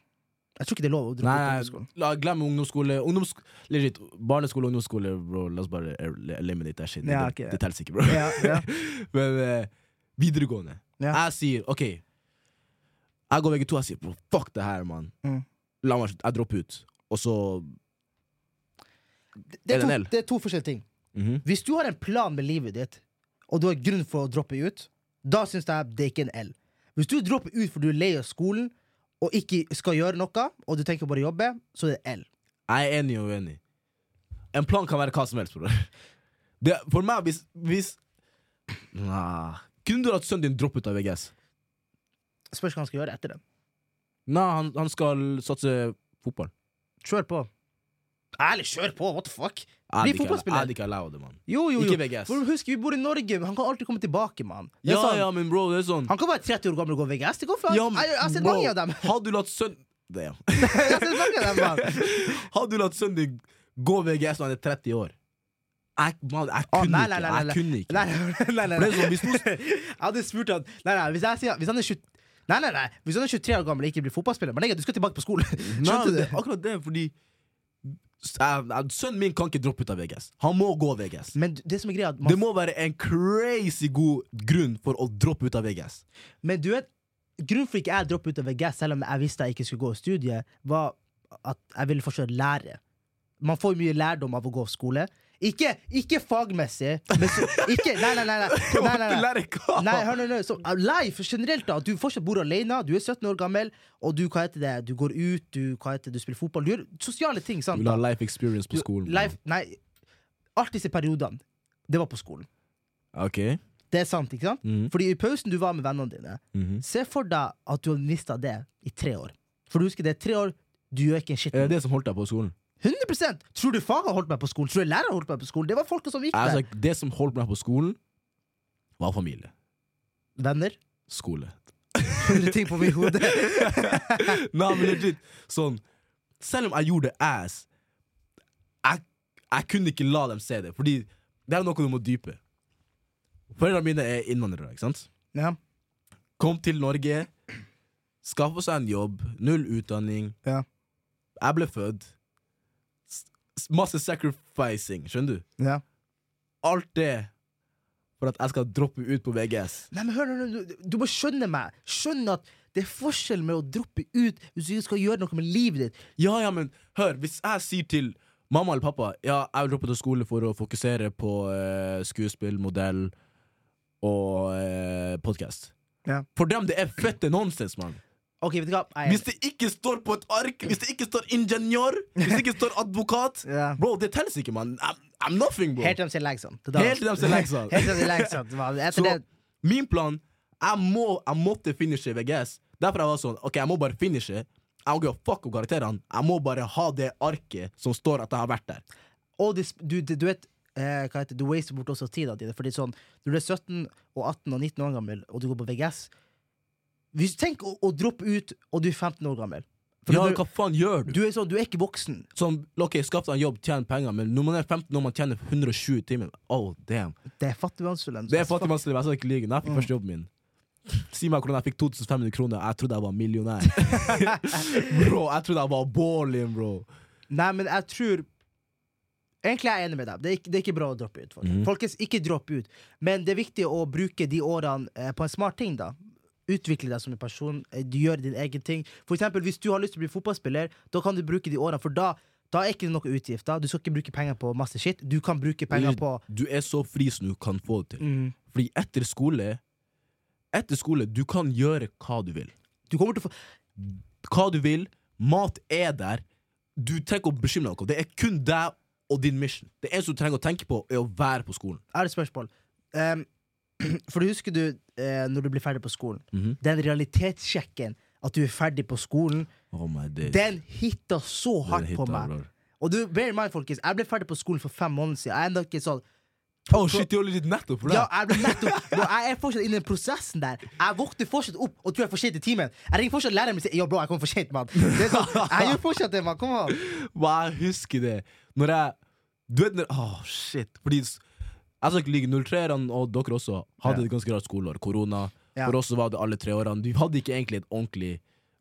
[SPEAKER 2] Jeg tror ikke det er lov å droppe ut på
[SPEAKER 1] Nei,
[SPEAKER 2] ungdomsskolen.
[SPEAKER 1] la, glem ungdomsskole. Ungdomssk legit, barneskole og ungdomsskole, bro. La oss bare el- eliminate that shit.
[SPEAKER 2] Ja,
[SPEAKER 1] det
[SPEAKER 2] ok.
[SPEAKER 1] det teller ikke, bro.
[SPEAKER 2] Ja, ja.
[SPEAKER 1] Men eh, videregående.
[SPEAKER 2] Ja.
[SPEAKER 1] Jeg sier OK. Jeg går VG2 jeg sier bro, fuck det her, mann.
[SPEAKER 2] Mm.
[SPEAKER 1] La meg Jeg dropper ut. Og så
[SPEAKER 2] Det, det,
[SPEAKER 1] Er
[SPEAKER 2] er
[SPEAKER 1] det en
[SPEAKER 2] to,
[SPEAKER 1] L?
[SPEAKER 2] det er to forskjellige ting.
[SPEAKER 1] mhm.
[SPEAKER 2] Hvis du har en plan med livet ditt, og du har grunn for å droppe ut, da syns jeg det er ikke en L. Hvis du dropper ut fordi du er lei av skolen og ikke skal gjøre noe, og du tenker bare å jobbe, så er det L.
[SPEAKER 1] Jeg er enig og uenig. En plan kan være hva som helst, bror. Det, for meg, hvis, hvis nah. Kunne du latt sønnen din droppe ut av VGS?
[SPEAKER 2] Spørs hva han skal gjøre etter det.
[SPEAKER 1] Nei, han, han skal satse fotball.
[SPEAKER 2] Kjør på. Ærlig, kjør på! What the fuck?
[SPEAKER 1] Jeg
[SPEAKER 2] Bli
[SPEAKER 1] hadde ikke-
[SPEAKER 2] fotballspiller.
[SPEAKER 1] Jeg hadde ikke allow det, mann.
[SPEAKER 2] Jo, jo, jo.
[SPEAKER 1] Ikke VGS.
[SPEAKER 2] For husk, vi bor i Norge, men han kan alltid komme tilbake, mann. Det er
[SPEAKER 1] Ja,
[SPEAKER 2] sånn,
[SPEAKER 1] ja, men bro, det er sånn
[SPEAKER 2] Han kan være 30 år gammel og gå VGS. Det går faen.
[SPEAKER 1] Ja, men
[SPEAKER 2] jeg, jeg har sett
[SPEAKER 1] bro,
[SPEAKER 2] mange av dem.
[SPEAKER 1] Hadde du latt sønn Det, ja.
[SPEAKER 2] jeg har sett mange av dem, mann.
[SPEAKER 1] Hadde du latt sønnen din gå VGS når han er 30 år? Jeg, man, jeg
[SPEAKER 2] Å,
[SPEAKER 1] kunne
[SPEAKER 2] nei, nei, nei,
[SPEAKER 1] ikke.
[SPEAKER 2] nei.
[SPEAKER 1] Jeg kunne ikke.
[SPEAKER 2] Nei, nei, nei, nei,
[SPEAKER 1] For det er
[SPEAKER 2] nei.
[SPEAKER 1] sånn, hvis noen
[SPEAKER 2] Jeg hadde spurt han Nei, nei, hvis, jeg, sier- hvis han er 20, nei, nei, nei, hvis han er 23 år gammel og ikke blir fotballspiller Men nei, du skal tilbake på skolen.
[SPEAKER 1] Nei,
[SPEAKER 2] Skjønte du?
[SPEAKER 1] det er akkurat det, fordi s- jeg- jeg- Sønnen min kan ikke droppe ut av VGS. Han må gå VGS.
[SPEAKER 2] Men det som er greia er at
[SPEAKER 1] Det
[SPEAKER 2] man,
[SPEAKER 1] må være en crazy god grunn for å droppe ut av VGS.
[SPEAKER 2] Men du vet, grunnen for ikke jeg droppet ut av VGS, selv om jeg visste jeg ikke skulle gå i studiet, var at jeg ville fortsatt lære. Man får mye lærdom av å gå på skole. Ikke, ikke fagmessig. Men så, ikke, nei, nei, nei. nei, nei, nei,
[SPEAKER 1] Du
[SPEAKER 2] nei.
[SPEAKER 1] lærer hva?
[SPEAKER 2] Nei, hør nå, nå, så, uh, life generelt da At Du fortsatt bor alene, du er 17 år gammel Og du, hva heter det, du går ut, du, hva heter det, du spiller fotball Du gjør sosiale ting,
[SPEAKER 1] Du
[SPEAKER 2] sant?
[SPEAKER 1] vil ha life experience på
[SPEAKER 2] Du-
[SPEAKER 1] skolen.
[SPEAKER 2] life, Nei, alt disse periodene Det var på skolen
[SPEAKER 1] Ok.
[SPEAKER 2] Det er sant, ikke sant?
[SPEAKER 1] Mhm,
[SPEAKER 2] Fordi i pausen du var med vennene dine
[SPEAKER 1] mhm.
[SPEAKER 2] Se for deg at du har mistet det i tre år For du husker det, tre år Du gjør ikke en shit
[SPEAKER 1] Er Eh, det det som holdt deg på skolen?
[SPEAKER 2] 100% Tror du faget holdt meg på skolen? Tror du lærere holdt meg på skolen? Det var folk som gikk der
[SPEAKER 1] Altså, det som holdt meg på skolen, var familie.
[SPEAKER 2] Venner
[SPEAKER 1] Skole.
[SPEAKER 2] 100 ting på min hode
[SPEAKER 1] Nei, men legit, sånn Selv om jeg gjorde ass, jeg, jeg kunne ikke la dem se det, fordi det er noe du må dype. Foreldrene mine er innvandrere, ikke sant?
[SPEAKER 2] Ja,
[SPEAKER 1] Kom til Norge, skaffa seg en jobb, null utdanning.
[SPEAKER 2] Ja.
[SPEAKER 1] Jeg ble født. S- s- Masse sacrificing, skjønner du?
[SPEAKER 2] ja
[SPEAKER 1] Alt det for at jeg skal droppe ut på VGS.
[SPEAKER 2] Nei, men hør, nå, nå, du, du må skjønne meg. Skjønne at det er forskjell med å droppe ut hvis du ikke skal gjøre noe med livet ditt.
[SPEAKER 1] Ja, ja, men hør, hvis jeg sier til mamma eller pappa Ja, jeg vil droppe til skole for å fokusere på eh, skuespill, modell og eh, podkast.
[SPEAKER 2] Ja.
[SPEAKER 1] For dem det er fette nonsens, mann.
[SPEAKER 2] Ok, vet du hva? Nei,
[SPEAKER 1] Hvis det ikke står på et ark, hvis det ikke står ingeniør, hvis det ikke står advokat
[SPEAKER 2] Ja.
[SPEAKER 1] Bro, det telles ikke, mann. I'm, I'm nothing, bro.
[SPEAKER 2] Helt til de sier legg sånn. Det er da-
[SPEAKER 1] Helt til de sier legg sånn.
[SPEAKER 2] Helt til de sier legg sånn. man. Etter
[SPEAKER 1] Så
[SPEAKER 2] det
[SPEAKER 1] min plan jeg, må, jeg måtte finishe VGS. Derfor jeg var sånn Ok, jeg må bare finishe. Jeg må ikke fuck opp karakterene. Jeg må bare ha det arket som står at jeg har vært der.
[SPEAKER 2] Og det, du, du, du vet eh, hva heter, det, Du waster bort også tida di. Fordi sånn, når du er 17 og 18 og 19 år gammel, og du går på VGS hvis, Tenk å, å droppe ut, og du er 15 år gammel. For
[SPEAKER 1] ja,
[SPEAKER 2] du,
[SPEAKER 1] hva faen gjør du?
[SPEAKER 2] du, er sånn, du er ikke voksen.
[SPEAKER 1] Sånn, ok, skaff deg en jobb, tjen penger, men når man er 15 år, man tjener 120 timer. Oh, damn.
[SPEAKER 2] Det er fattigmannsfellen.
[SPEAKER 1] Det er fattigmannslivet. Jeg skal ikke lyve. Når
[SPEAKER 2] Mm.
[SPEAKER 1] jeg fikk første jobben min Si meg hvordan jeg fikk 2500 kroner. Jeg trodde jeg var millionær. bro, jeg trodde jeg var balling, bro.
[SPEAKER 2] Nei, men jeg tror Egentlig er jeg enig med deg. Det er ikke, det er ikke bra å droppe ut. Folk.
[SPEAKER 1] Mhm.
[SPEAKER 2] Folkens, ikke dropp ut. Men det er viktig å bruke de årene eh, på en smart ting. da Utvikle deg som en person. eh, Du gjør din egen ting. For eksempel, hvis du har lyst til å bli fotballspiller, da kan du bruke de årene. For da, da er ikke det noe utgifter. Du skal ikke bruke penger på masse shit. Du kan bruke penger på mm,
[SPEAKER 1] Du er så fri som du kan få det til. Fordi etter skole Etter skole, du kan gjøre hva du vil.
[SPEAKER 2] Du kommer til å få
[SPEAKER 1] Hva du vil. Mat er der. Du trenger ikke å bekymre deg. om noe. Det er kun deg og din mission. Det eneste du trenger å tenke på, er å være på skolen.
[SPEAKER 2] Er det spørsmål? Ehm, for du husker du eh, når du blir ferdig på skolen?
[SPEAKER 1] Mhm.
[SPEAKER 2] Den realitetssjekken at du er ferdig på skolen,
[SPEAKER 1] Oh my days.
[SPEAKER 2] den hitta så
[SPEAKER 1] Den
[SPEAKER 2] hardt på
[SPEAKER 1] hitta,
[SPEAKER 2] meg.
[SPEAKER 1] bror.
[SPEAKER 2] Og du, bear in mind, folkens, jeg ble ferdig på skolen for fem måneder siden. Jeg er enda ikke sånn
[SPEAKER 1] Å, shit, de holder litt nettopp for det.
[SPEAKER 2] ja, jeg, ble nettopp, Bro, jeg er fortsatt inne i den prosessen der. Jeg våkner fortsatt opp og tror jeg er for sent i timen. Jeg ringer fortsatt læreren min og sier Ja, bro, jeg kom for sent, mann. Det er sånn, Jeg gjør fortsatt det, mann. Kom an.
[SPEAKER 1] Hva jeg husker det Når jeg Du vet når Åh, shit Fordi s- Jeg skal ikke ligge 03-erne og dere også Hadde
[SPEAKER 2] Ja.
[SPEAKER 1] et ganske rart skoleår Korona
[SPEAKER 2] Ja.
[SPEAKER 1] For oss så var det alle tre årene Vi hadde ikke egentlig et ordentlig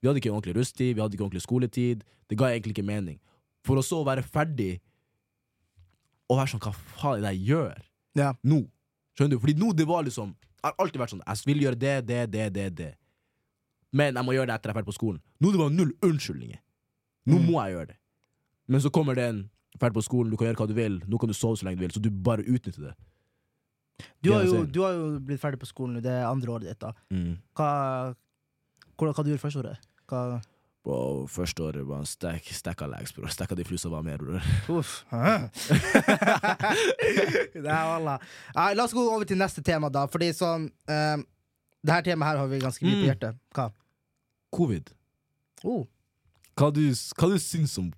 [SPEAKER 1] Vi hadde ikke en ordentlig rusttid Vi hadde ikke ordentlig skoletid Det ga egentlig ikke mening For å så være ferdig Og være sånn Hva faen er det jeg gjør?
[SPEAKER 2] Ja.
[SPEAKER 1] Nå Skjønner du? Fordi nå det var liksom Jeg har alltid vært sånn Jeg vil gjøre det, det, det, det, det Men jeg må gjøre det etter jeg er ferdig på skolen Nå det var null unnskyldninger Nå
[SPEAKER 2] Mm.
[SPEAKER 1] må jeg gjøre det men så kommer den ferdig på skolen, du kan gjøre hva du vil, nå kan du sove så lenge du vil, så du bare utnytter det.
[SPEAKER 2] Du har, jo, du har jo blitt ferdig på skolen nå. Det er andre året ditt, da.
[SPEAKER 1] Mm.
[SPEAKER 2] Hva, hvordan, hva du gjorde første året? Hva
[SPEAKER 1] Bro, første året var en stack, stacka legs, bror. Stacka de flusa var med, bror.
[SPEAKER 2] Uff. Nei, wallah. Nei, La oss gå over til neste tema, da. Fordi sånn eh, Det her temaet her har vi ganske mye på
[SPEAKER 1] Mm.
[SPEAKER 2] hjertet. Hva?
[SPEAKER 1] Covid.
[SPEAKER 2] Oh,
[SPEAKER 1] Hva du, hva du syns om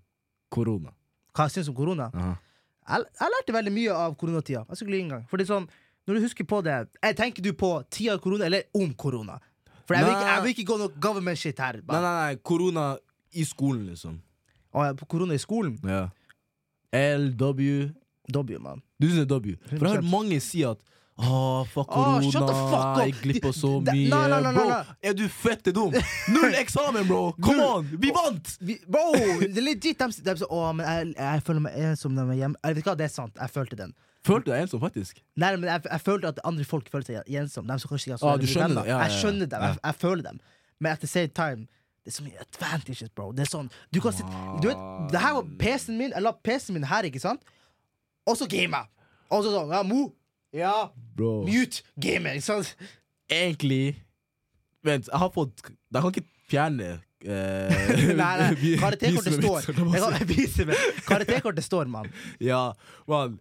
[SPEAKER 1] korona?
[SPEAKER 2] hva jeg syns om korona? Jeg, jeg lærte veldig mye av koronatida. Jeg skulle en gang Fordi sånn, Når du husker på det jeg Tenker du på tida av korona, eller om korona? For jeg vil ikke, jeg vil ikke gå noe government shit her.
[SPEAKER 1] Nei, nei, nei, korona i skolen, liksom.
[SPEAKER 2] Å, ja, på korona i skolen?
[SPEAKER 1] Ja. LW
[SPEAKER 2] Dobby, mann.
[SPEAKER 1] Du syns det er W. For jeg har hørt
[SPEAKER 2] 100%.
[SPEAKER 1] mange si at Åh, fuck
[SPEAKER 2] Åh, shut the
[SPEAKER 1] korona,
[SPEAKER 2] fuck up.
[SPEAKER 1] jeg gikk glipp av så
[SPEAKER 2] De- de-
[SPEAKER 1] mye.
[SPEAKER 2] nei, nei, nei,
[SPEAKER 1] bro,
[SPEAKER 2] nei,
[SPEAKER 1] er du fette dum? Null eksamen, bro! Come
[SPEAKER 2] Null.
[SPEAKER 1] on! Vi vant!
[SPEAKER 2] Vi, bro, det er legit. De, de, de, å, men jeg, jeg føler meg ensom når jeg er hjemme. Jeg vet hva, det er sant. Jeg følte den.
[SPEAKER 1] Følte du deg ensom, faktisk?
[SPEAKER 2] Nei, men jeg, jeg følte at andre folk følte seg ensomme. De som kanskje ikke har så
[SPEAKER 1] Ah, du
[SPEAKER 2] veldig mye
[SPEAKER 1] skjønner
[SPEAKER 2] venner.
[SPEAKER 1] det. Ja, ja, ja.
[SPEAKER 2] Jeg skjønner dem. Jeg,
[SPEAKER 1] Ja.
[SPEAKER 2] jeg føler dem. Men at the same time det er så mye advantages, bro. Det er sånn Du kan sitte Du vet, det her var PC-en min. Jeg la PC-en min her, ikke sant? og så gamer jeg. Og så sånn, ja, Mo, ja,
[SPEAKER 1] Bro.
[SPEAKER 2] mute, gamer. Ikke sant?
[SPEAKER 1] Egentlig Vent, jeg har fått Jeg kan ikke fjerne eh,
[SPEAKER 2] Nei, nei,
[SPEAKER 1] vi-
[SPEAKER 2] karakterkortet
[SPEAKER 1] viset mitt,
[SPEAKER 2] står.
[SPEAKER 1] så kan man
[SPEAKER 2] Jeg
[SPEAKER 1] si.
[SPEAKER 2] kan vise meg. Karakterkortet står, mann.
[SPEAKER 1] Ja, man.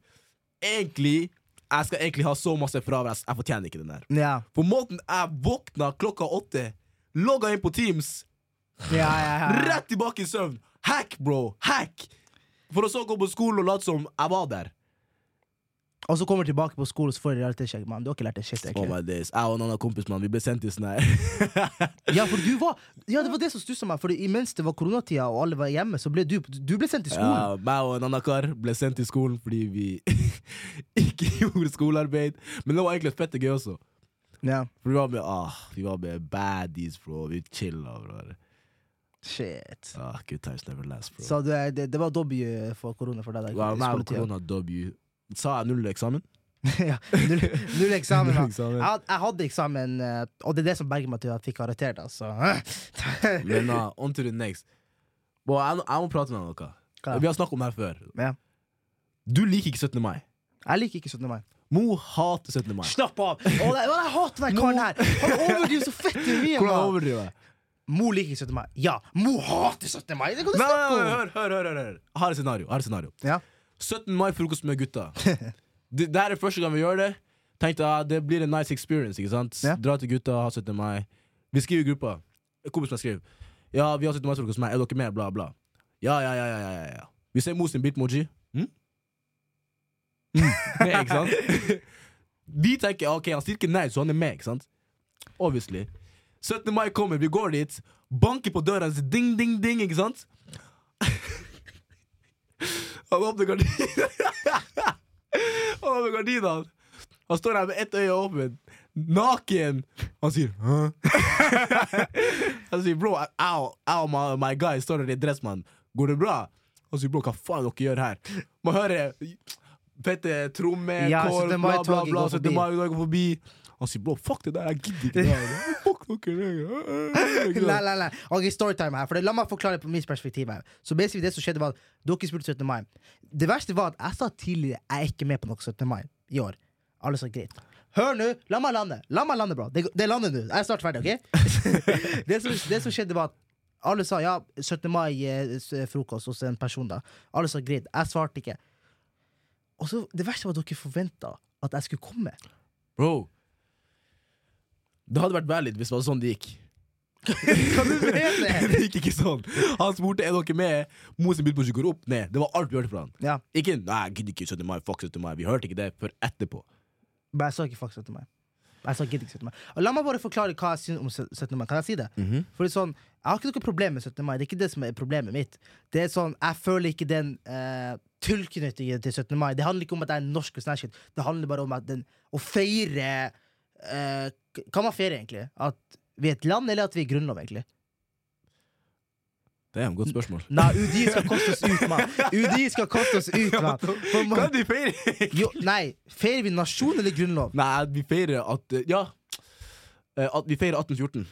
[SPEAKER 1] Egentlig Jeg skal egentlig ha så masse fravær. Jeg fortjener ikke den der.
[SPEAKER 2] Ja,
[SPEAKER 1] På måten jeg våkna klokka åtte, logga inn på Teams
[SPEAKER 2] ja, ja. ja.
[SPEAKER 1] Rett tilbake i søvn. Hack, bro. Hack. For å så gå på skolen og late som jeg var der.
[SPEAKER 2] Og så kommer du tilbake på skolen, så får du realitetssjekk. mann. Du har ikke lært det shit.
[SPEAKER 1] Oh
[SPEAKER 2] egentlig.
[SPEAKER 1] my days. Jeg og en annen kompis man, vi ble sendt i sånn her
[SPEAKER 2] Ja, for du var Ja, det var det som stussa meg. For imens det var koronatida og alle var hjemme, så ble du, du ble sendt til skolen.
[SPEAKER 1] ja, Meg og en annen kar ble sendt i skolen fordi vi ikke gjorde skolearbeid. Men det var egentlig fette gøy også.
[SPEAKER 2] Ja.
[SPEAKER 1] For vi var med, ah, vi var med baddies, bro. Vi chilla, bro.
[SPEAKER 2] Shit.
[SPEAKER 1] Ah, good times never last, bro.
[SPEAKER 2] Så det, det, det var W for korona for deg?
[SPEAKER 1] Det
[SPEAKER 2] da,
[SPEAKER 1] var meg og
[SPEAKER 2] skoletida.
[SPEAKER 1] korona W. Sa jeg null eksamen?
[SPEAKER 2] ja, null, null
[SPEAKER 1] Null
[SPEAKER 2] eksamen. da.
[SPEAKER 1] eksamen.
[SPEAKER 2] Jeg, had- jeg hadde eksamen, eh, og det er det som berger meg til at jeg fikk altså. karakter. Da, så.
[SPEAKER 1] Men uh, on to the next. Bro, jeg, jeg må prate med deg om noe.
[SPEAKER 2] Hva?
[SPEAKER 1] Vi har snakket om det her før.
[SPEAKER 2] Ja.
[SPEAKER 1] Du liker ikke 17. mai.
[SPEAKER 2] Jeg liker ikke 17. mai.
[SPEAKER 1] Mo hater 17. mai.
[SPEAKER 2] Slapp av! Å, nei, å, jeg hater den karen her! Han overdriver så fett mye!
[SPEAKER 1] Hvordan
[SPEAKER 2] mann.
[SPEAKER 1] overdriver jeg?
[SPEAKER 2] Mo liker ikke 17. mai. Ja, Mo hater 17. mai! Det kan du
[SPEAKER 1] Nei, nei,
[SPEAKER 2] snakke
[SPEAKER 1] nei,
[SPEAKER 2] om!
[SPEAKER 1] hør, hør, hør, hør, hør. Jeg Har et scenario. jeg Har et scenario.
[SPEAKER 2] Ja.
[SPEAKER 1] 17. mai-frokost med gutta. Det, det her er første gang vi gjør det. Tenkte jeg, Det blir en nice experience. ikke sant?
[SPEAKER 2] Ja.
[SPEAKER 1] Dra til gutta, ha 17. mai. Vi skriver i gruppa. En kompis meg skriver. Ja, vi har 17. mai-frokost med meg. Er dere med? Bla, bla. Ja, ja, ja. ja, ja, ja, ja. Vi ser Mo sin bitmoji. Hm? Mm. Med, ikke sant? Vi tenker ok, han sier ikke nei, så han er med. ikke sant? Obviously. 17. mai kommer, vi går dit. Banker på døra, så ding, ding, ding, ikke sant? Han åpner gardinene. Han åpner gardinene. Han står her med ett øye åpent, naken. Han sier Hæ? Han sier bro, au, au, my, my guy står der i dress, mann. Går det bra? Han sier bro, hva faen dere gjør her? Man hører fette trommer,
[SPEAKER 2] Ja,
[SPEAKER 1] kår,
[SPEAKER 2] 17.
[SPEAKER 1] bla, bla,
[SPEAKER 2] mai-toget
[SPEAKER 1] bla.
[SPEAKER 2] går
[SPEAKER 1] 17.
[SPEAKER 2] forbi.
[SPEAKER 1] mai-toget går forbi. Han sier bro, fuck det der, jeg gidder ikke det her. Fuck dere. ikke
[SPEAKER 2] Nei,
[SPEAKER 1] sant?
[SPEAKER 2] nei, nei. Ok, storytime her. For det, la meg forklare på mitt perspektiv. her Så basically det som skjedde var at Dere spurte 17. mai. Det verste var at jeg sa tidligere jeg er ikke med på noe 17. mai i år. Alle sa greit. Hør nå, la meg lande. La meg lande, bro. Det, det lander nå. Jeg er snart ferdig, OK? det, som, det som skjedde, var at alle sa ja, eh, 17. mai-frokost hos en person. da Alle sa greit. Jeg svarte ikke. Og så Det verste var at dere forventa at jeg skulle komme.
[SPEAKER 1] Bro. Det hadde vært valid hvis det var sånn det gikk.
[SPEAKER 2] Kan du mene?
[SPEAKER 1] det gikk ikke sånn. Han spurte er dere med. Mos sin bilbosje går opp ned. Det var alt vi hørte fra han.
[SPEAKER 2] Ja,
[SPEAKER 1] Ikke nei, jeg gidder ikke 17. mai, fuck 17. mai. Vi hørte ikke det før etterpå.
[SPEAKER 2] Men jeg sa ikke fuck 17. mai. Jeg sa gidd ikke 17. mai. Og la meg bare forklare hva jeg syns om 17. mai. Kan jeg si det? Fordi sånn, Jeg har ikke noe problem med 17. mai. Det er ikke det som er problemet mitt. Det er sånn, Jeg føler ikke den eh, tilknytningen til 17. mai. Det handler ikke om at jeg er norsk og sånn. her shit. Det handler bare om at den, å feire eh, k- Hva man feirer, egentlig? At vi er et land, eller at vi er grunnlov, egentlig?
[SPEAKER 1] Det er et godt spørsmål.
[SPEAKER 2] Nei, UDI skal kaste oss ut, mann! UDI skal kaste oss ut, mann! For man-
[SPEAKER 1] de feire?
[SPEAKER 2] Jo, nei, feirer vi nasjon eller grunnlov?
[SPEAKER 1] nei, vi feirer at eh, Ja. Eh, At vi feirer 1814.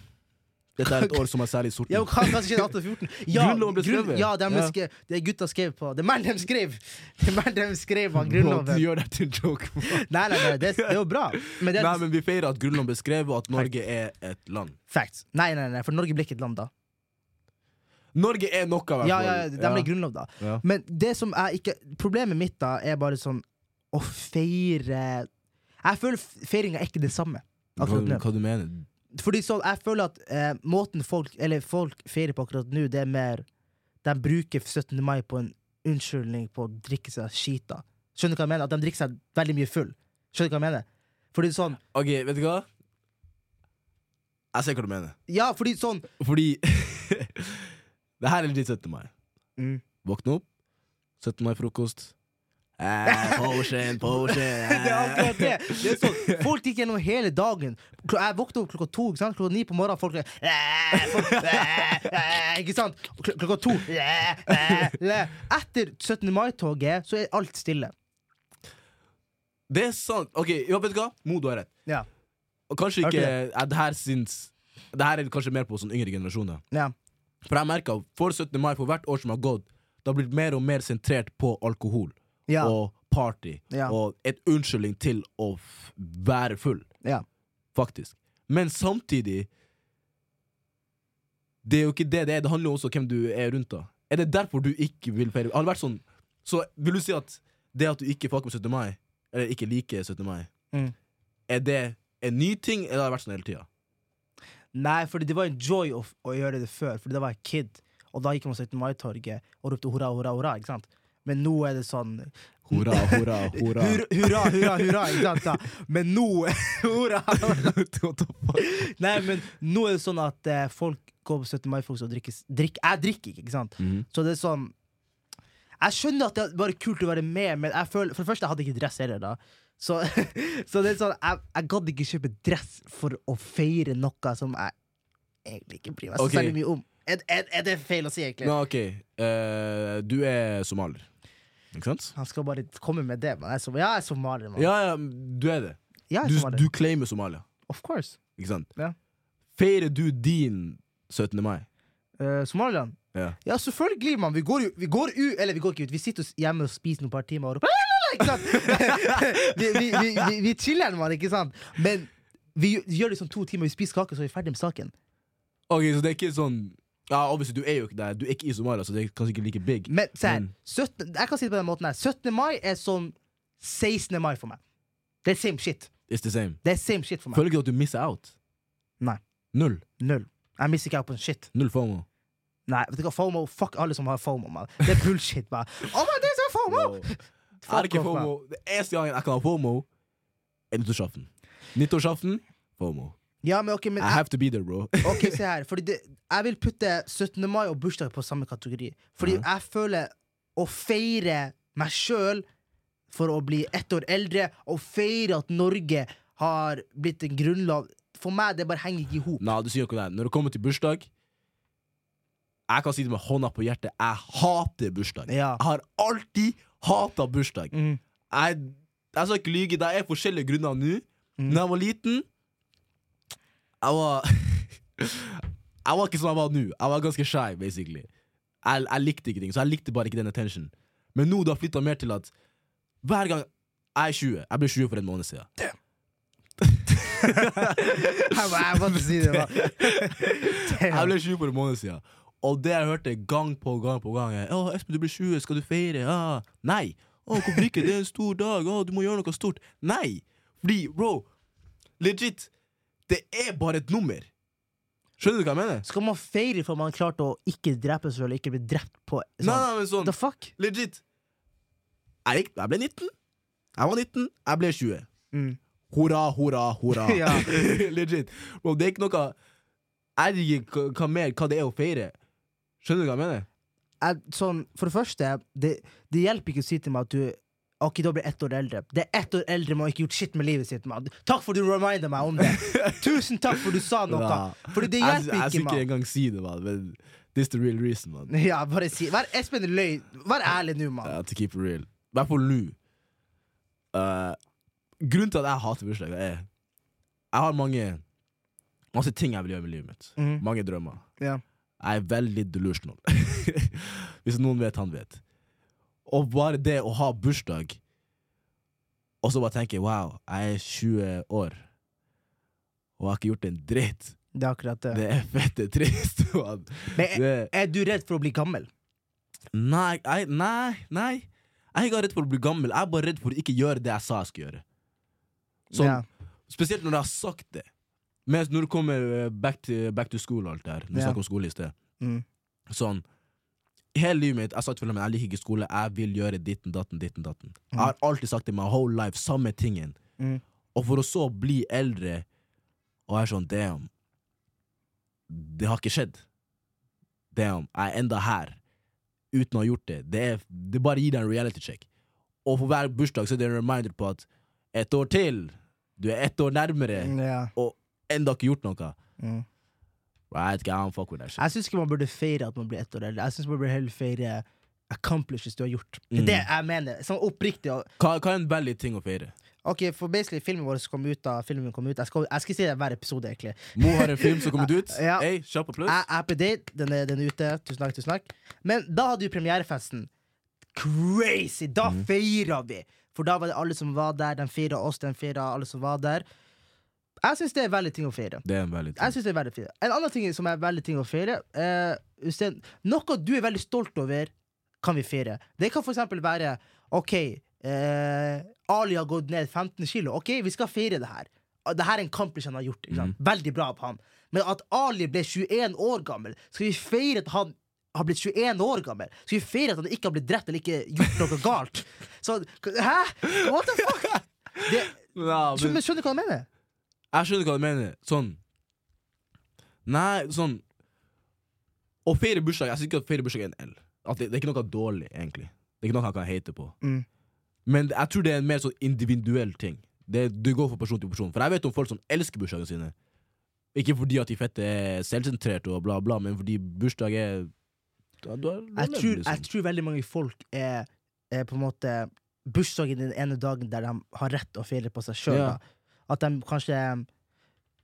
[SPEAKER 1] Dette er et år som er særlig sorten.
[SPEAKER 2] Ja, men hva, hva som skjedde i 1814? Ja,
[SPEAKER 1] Grunnloven ble skrevet.
[SPEAKER 2] ja, det, ble
[SPEAKER 1] Ja.
[SPEAKER 2] skrevet, det gutta skrev på Det er mer de skrev! Det er mer de skrev av
[SPEAKER 1] Bro,
[SPEAKER 2] Grunnloven.
[SPEAKER 1] du gjør det til en joke. bro.
[SPEAKER 2] Nei, nei, nei, det, det er jo bra. Men det er
[SPEAKER 1] Nei, men vi feirer at Grunnloven ble skrevet, og at Norge er et land.
[SPEAKER 2] facts. Nei, nei, nei, for Norge ble ikke et land da.
[SPEAKER 1] Norge er noe, i hvert
[SPEAKER 2] Ja,
[SPEAKER 1] fall.
[SPEAKER 2] ja, De ble grunnlov da.
[SPEAKER 1] Ja.
[SPEAKER 2] Men det som er ikke Problemet mitt da er bare sånn å feire Jeg føler f- feiringa er ikke det samme. Akkurat
[SPEAKER 1] Hva,
[SPEAKER 2] nå.
[SPEAKER 1] hva du mener
[SPEAKER 2] Fordi så, Jeg føler at eh, måten folk Eller folk feirer på akkurat nå, det er mer De bruker 17. mai på en unnskyldning på å drikke seg skita. Skjønner du hva jeg mener? At de drikker seg veldig mye full. Skjønner du hva jeg mener? Fordi sånn
[SPEAKER 1] Ok, vet du hva? Jeg ser hva du mener.
[SPEAKER 2] Ja, fordi sånn
[SPEAKER 1] Fordi Det her er litt 17. mai.
[SPEAKER 2] Mm.
[SPEAKER 1] Våkne opp, 17. mai-frokost. Eh, potion, potion.
[SPEAKER 2] Det er
[SPEAKER 1] Eh.
[SPEAKER 2] akkurat det! det er sånn. Folk gikk gjennom hele dagen. Kl- Jeg våkna opp klokka to. Ikke sant? Klokka ni på morgenen. Folk er folk- Ikke sant? Kl- Klokka to Etter 17. mai-toget så er alt stille.
[SPEAKER 1] Det er sant. Ok, ja, vet du hva? Mo, du har rett.
[SPEAKER 2] Ja.
[SPEAKER 1] Og kanskje
[SPEAKER 2] Hørte
[SPEAKER 1] ikke eh, det her syns Det her er kanskje mer på sånn yngre generasjoner.
[SPEAKER 2] ja.
[SPEAKER 1] For jeg merka for 17. mai for hvert år som har gått, det har blitt mer og mer sentrert på alkohol
[SPEAKER 2] ja.
[SPEAKER 1] og party
[SPEAKER 2] Ja.
[SPEAKER 1] og et unnskyldning til å f være full,
[SPEAKER 2] Ja.
[SPEAKER 1] faktisk. Men samtidig Det er jo ikke det det er. Det handler jo også om hvem du er rundt. da Er det derfor du ikke vil feire? Har det vært sånn Så vil du si at det at du ikke fucker med 17. mai, eller ikke liker 17. mai,
[SPEAKER 2] Mm.
[SPEAKER 1] er det en ny ting, eller har det vært sånn hele tida?
[SPEAKER 2] Nei, fordi det var en joy å, f- å gjøre det før, fordi da var jeg kid. Og da gikk man på 17. mai-torget og ropte hurra, hurra, hurra. ikke sant? Men nå er det sånn
[SPEAKER 1] Hurra, hurra, hurra.
[SPEAKER 2] Hurra, hurra, hurra. hurra ikke sant? da? Men nå Hurra! Nei, men nå er det sånn at eh, folk går på 17. mai-frokost og drikker, s- drikk, Jeg drikker ikke, ikke sant?
[SPEAKER 1] Mhm.
[SPEAKER 2] Så det er sånn Jeg skjønner at det er bare kult å være med, men jeg føler, for det første, jeg hadde ikke dress heller da. Så, så det er sånn, jeg, jeg gadd ikke kjøpe dress for å feire noe som jeg egentlig ikke bryr meg så
[SPEAKER 1] Ok.
[SPEAKER 2] særlig mye om. Er, er, er det feil å si, egentlig?
[SPEAKER 1] Men ok, eh, du er somalier. Ikke sant?
[SPEAKER 2] Han skal bare komme med det. Men jeg er, som, ja, jeg er somalier, mann.
[SPEAKER 1] Ja, ja, du er det.
[SPEAKER 2] Ja,
[SPEAKER 1] Du,
[SPEAKER 2] jeg er somalier.
[SPEAKER 1] du claimer Somalia,
[SPEAKER 2] Of course.
[SPEAKER 1] ikke sant?
[SPEAKER 2] Ja.
[SPEAKER 1] Feirer du din 17. mai?
[SPEAKER 2] Eh, Somaliland.
[SPEAKER 1] Ja.
[SPEAKER 2] Ja, selvfølgelig, mann. Vi går jo vi går ut Eller vi går ikke ut. Vi sitter oss hjemme og spiser noen par timer og roper Ikke sant? vi, vi, vi, vi, vi chiller, mann, ikke sant? Men vi gjør det sånn to timer, vi spiser kake, så er vi ferdig med saken.
[SPEAKER 1] Ok, så det er ikke sånn Ja, obviously, du er jo ikke der. Du er ikke i Somalia, så det er kanskje ikke like big.
[SPEAKER 2] Men se her,
[SPEAKER 1] Men-
[SPEAKER 2] 17, jeg kan si det på den måten her. 17. mai er sånn 16. mai for meg. Det er same shit.
[SPEAKER 1] It's the same.
[SPEAKER 2] Det er same shit for meg.
[SPEAKER 1] Føler ikke du at du misser out?
[SPEAKER 2] Nei.
[SPEAKER 1] Null.
[SPEAKER 2] Null. Jeg mister ikke out på en shit.
[SPEAKER 1] Null FOMO.
[SPEAKER 2] Nei, vet du hva, FOMO, fuck alle som har FOMO, mann. Det er bullshit, mann. Oh, man, det er så FOMO!
[SPEAKER 1] Jeg har ikke
[SPEAKER 2] off, man.
[SPEAKER 1] FOMO. Det eneste gangen jeg kan ha FOMO, er nyttårsaften. Nyttårsaften, FOMO.
[SPEAKER 2] Ja, men ok, men
[SPEAKER 1] I have to be there, bro.
[SPEAKER 2] Ok, se her. Fordi det, jeg vil putte 17. mai og bursdag på samme kategori. Fordi
[SPEAKER 1] Mhm.
[SPEAKER 2] jeg føler å feire meg sjøl for å bli ett år eldre, og feire at Norge har blitt en grunnlov For meg, det bare henger ikke i hop.
[SPEAKER 1] Nei, du sier ikke det. Når det kommer til bursdag Jeg kan si det med hånda på hjertet. Jeg hater bursdag.
[SPEAKER 2] Ja.
[SPEAKER 1] Jeg har alltid hata bursdag.
[SPEAKER 2] Mhm.
[SPEAKER 1] Jeg, jeg skal ikke lyge. Det er forskjellige grunner nå. Når jeg var liten Jeg var Jeg var ikke som jeg var nå. Jeg var ganske shy, basically. Jeg, jeg likte ikke ting, så jeg likte bare ikke den attention. Men nå det har flytta mer til at hver gang jeg er 20 Jeg ble 20 for en måned siden.
[SPEAKER 2] Jeg må- jeg måtte si det, da.
[SPEAKER 1] Jeg ble 20 for en måned siden. Og det jeg hørte gang på gang på gang er, Å, Espen, du blir 20, skal du feire? Ja. Nei! Å, hvorfor ikke? Det er en stor dag. Å, du må gjøre noe stort. Nei! Fordi, bro, legit, det er bare et nummer. Skjønner du hva jeg mener?
[SPEAKER 2] Skal man feire for man klarte å ikke drepe seg selv, og ikke bli drept på sånn?
[SPEAKER 1] Nei, nei, men sånn,
[SPEAKER 2] The fuck?
[SPEAKER 1] legit. Jeg, gikk- jeg ble 19. Jeg var 19, jeg ble 20.
[SPEAKER 2] Mm.
[SPEAKER 1] Hurra, hurra, hurra.
[SPEAKER 2] Ja.
[SPEAKER 1] legit. Bro, det er ikke noe Jeg vet ikke hva- hva mer hva det er å feire. Skjønner du hva jeg mener?
[SPEAKER 2] jeg, sånn, for det første, det, det hjelper ikke å si til meg at du Ok, da blir jeg ett år eldre. Det er ett år eldre man har ikke gjort shit med livet sitt. Man. Takk for du reminda meg om det. Tusen takk for du sa noe.
[SPEAKER 1] Ja.
[SPEAKER 2] Fordi det
[SPEAKER 1] Jeg-
[SPEAKER 2] hjelper
[SPEAKER 1] Jeg
[SPEAKER 2] ikke,
[SPEAKER 1] skal ikke
[SPEAKER 2] mann.
[SPEAKER 1] engang si det, man, men this the real reason. Man.
[SPEAKER 2] Ja, bare si Vær Espen løy. Vær ærlig nå, mann.
[SPEAKER 1] Uh, to keep it real. I hvert fall nå. Eh, grunnen til at jeg hater bursdager, er Jeg har mange Masse ting jeg vil gjøre med livet mitt.
[SPEAKER 2] Mhm.
[SPEAKER 1] Mange drømmer.
[SPEAKER 2] Ja.
[SPEAKER 1] Jeg er veldig delusional. Hvis noen vet, han vet. Og bare det å ha bursdag, og så bare tenke wow, jeg er 20 år, og jeg har ikke gjort en dritt.
[SPEAKER 2] Det er akkurat det.
[SPEAKER 1] Det er fette trist. Man.
[SPEAKER 2] Men er,
[SPEAKER 1] Det,
[SPEAKER 2] er du redd for å bli gammel?
[SPEAKER 1] Nei, nei, nei, nei. Jeg er ikke redd for å bli gammel. Jeg er bare redd for å ikke gjøre det jeg sa jeg skulle gjøre. Sånn,
[SPEAKER 2] Ja.
[SPEAKER 1] Spesielt når jeg har sagt det. Men når det kommer eh, back to, back to school og alt det her, når vi
[SPEAKER 2] Ja.
[SPEAKER 1] snakker om skole i sted
[SPEAKER 2] Mm.
[SPEAKER 1] Sånn Hele livet mitt jeg har sagt til dem, jeg liker ikke skole, jeg vil gjøre ditten, datten, ditten, datten. Jeg har alltid sagt det my whole life, samme tingen.
[SPEAKER 2] Mm.
[SPEAKER 1] Og for å så bli eldre, og jeg er sånn damn Det har ikke skjedd. Damn, jeg er enda her uten å ha gjort det. Det, er, det bare gir deg en reality check. Og for hver bursdag så er det en reminder på at ett år til, du er ett år nærmere,
[SPEAKER 2] Ja.
[SPEAKER 1] og enda ikke gjort noe.
[SPEAKER 2] Mm.
[SPEAKER 1] Right, I don't fuck with that shit.
[SPEAKER 2] Jeg syns ikke man burde feire at man blir ett år eldre. Jeg syns man burde heller feire accomplishes du har gjort. Det er
[SPEAKER 1] Mm.
[SPEAKER 2] det jeg mener. Sånn oppriktig. og-
[SPEAKER 1] Hva, hva er en veldig ting å feire?
[SPEAKER 2] Ok, for basically filmen vår som kom ut da filmen kom ut Jeg skal, jeg skal si det hver episode, egentlig.
[SPEAKER 1] Mo har en film som kommer ut.
[SPEAKER 2] Ja.
[SPEAKER 1] Hey, kjapp applaus.
[SPEAKER 2] Jeg er på date, den er, den er ute. Tusen takk, tusen takk. Men da hadde jo premierefesten. crazy! Da feira vi! For da var det alle som var der. De feira oss, de feira alle som var der. Jeg syns det er veldig ting å feire.
[SPEAKER 1] Det er en veldig
[SPEAKER 2] Jeg synes det er veldig fint. En annen ting som er veldig ting å feire eh, Øystein, Noe du er veldig stolt over, kan vi feire. Det kan for eksempel være OK, eh, Ali har gått ned 15 kilo. OK, vi skal feire det her. Ah, Det her er en kamp han har gjort. Ikke sant? Veldig bra av han. Men at Ali ble 21 år gammel, skal vi feire at han har blitt 21 år gammel? Skal vi feire at han ikke har blitt drept eller ikke gjort noe galt? Så, hæ? What the fuck? Det,
[SPEAKER 1] Ja, men,
[SPEAKER 2] men skjønner du hva jeg mener?
[SPEAKER 1] jeg skjønner hva du mener. Sånn Nei, sånn Å feire bursdag Jeg syns ikke at feire bursdag er en L. At det, det er ikke noe dårlig, egentlig. Det er ikke noe han kan hate på.
[SPEAKER 2] Mm.
[SPEAKER 1] Men jeg tror det er en mer sånn individuell ting. Det, det går fra person til person. For jeg vet om folk som elsker bursdagene sine. Ikke fordi at de fette er selvsentrerte og bla, bla, men fordi bursdag er ja, du er- du er
[SPEAKER 2] jeg
[SPEAKER 1] levd,
[SPEAKER 2] tror, jeg
[SPEAKER 1] liksom.
[SPEAKER 2] tror veldig mange folk er, er på en måte bursdagen den ene dagen der de har rett å feire på seg sjøl.
[SPEAKER 1] Ja.
[SPEAKER 2] At de kanskje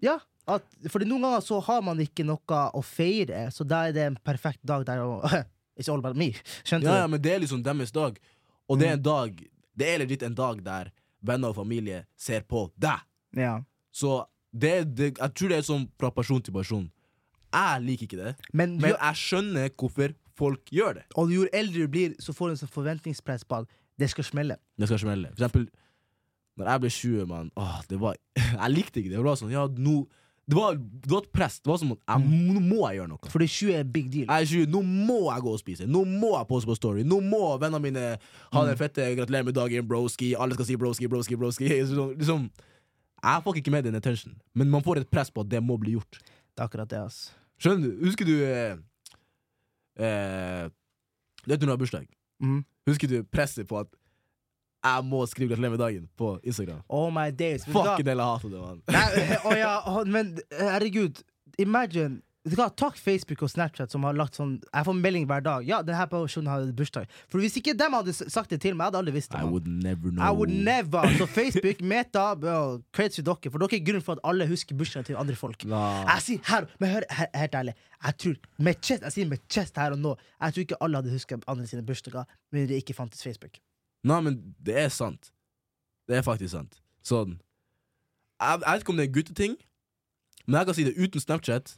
[SPEAKER 2] Ja. At, fordi noen ganger så har man ikke noe å feire, så da er det en perfekt dag der å It's all about me. Skjønte
[SPEAKER 1] Ja, ja, men det er liksom deres dag. Og
[SPEAKER 2] Mm.
[SPEAKER 1] det er en dag Det er litt en dag der venner og familie ser på deg.
[SPEAKER 2] du? Ja.
[SPEAKER 1] Så det, det, jeg tror det er sånn fra person til person. Jeg liker ikke det,
[SPEAKER 2] Men,
[SPEAKER 1] men
[SPEAKER 2] jo,
[SPEAKER 1] jeg skjønner hvorfor folk gjør det.
[SPEAKER 2] og jo eldre du blir, så får du en sånn forventningspress på at det skal smelle.
[SPEAKER 1] Det skal smelle. For eksempel, når jeg ble 20, mann åh, det var, Jeg likte ikke det. Det var sånn, ja, nå det var, det var et press. Det var som at jeg, nå må jeg gjøre noe.
[SPEAKER 2] Fordi 20 er big deal.
[SPEAKER 1] Jeg er 20, nå må jeg gå og spise. Nå må jeg poste på Story. Nå må vennene mine ha den fette 'gratulerer med dagen, broski'. Alle skal si broski, broski, broski. Liksom, liksom, jeg får ikke med den attention, men man får et press på at det må bli gjort.
[SPEAKER 2] Det er akkurat det, ass.
[SPEAKER 1] Skjønner du? Husker du eh, eh, Det er når du har bursdag.
[SPEAKER 2] Mm.
[SPEAKER 1] Husker du presset på at jeg må skrive 'gratulerer med dagen' på Instagram?
[SPEAKER 2] Oh my days. Vet du hva?
[SPEAKER 1] Fuck en del av hatet det, mann.
[SPEAKER 2] Nei, å ja, å, men herregud, imagine Vet du hva, Takk Facebook og Snapchat som har lagt sånn Jeg får melding hver dag. Ja, denne personen har bursdag. For hvis ikke dem hadde s- sagt det til meg, jeg hadde aldri visst det.
[SPEAKER 1] I
[SPEAKER 2] man.
[SPEAKER 1] would never know.
[SPEAKER 2] I would never. Så Facebook, Meta, bro, credits til dere. For dere er grunnen for at alle husker bursdagen til andre folk.
[SPEAKER 1] La.
[SPEAKER 2] Jeg sier her, men hør, her, helt ærlig Jeg tror, med chest, jeg sier med chest her og nå Jeg tror ikke alle hadde huska andre sine bursdager, men det ikke fantes Facebook.
[SPEAKER 1] Nei, men det er sant. Det er faktisk sant. Sånn. Jeg, jeg vet ikke om det er en gutteting, men jeg kan si det uten Snapchat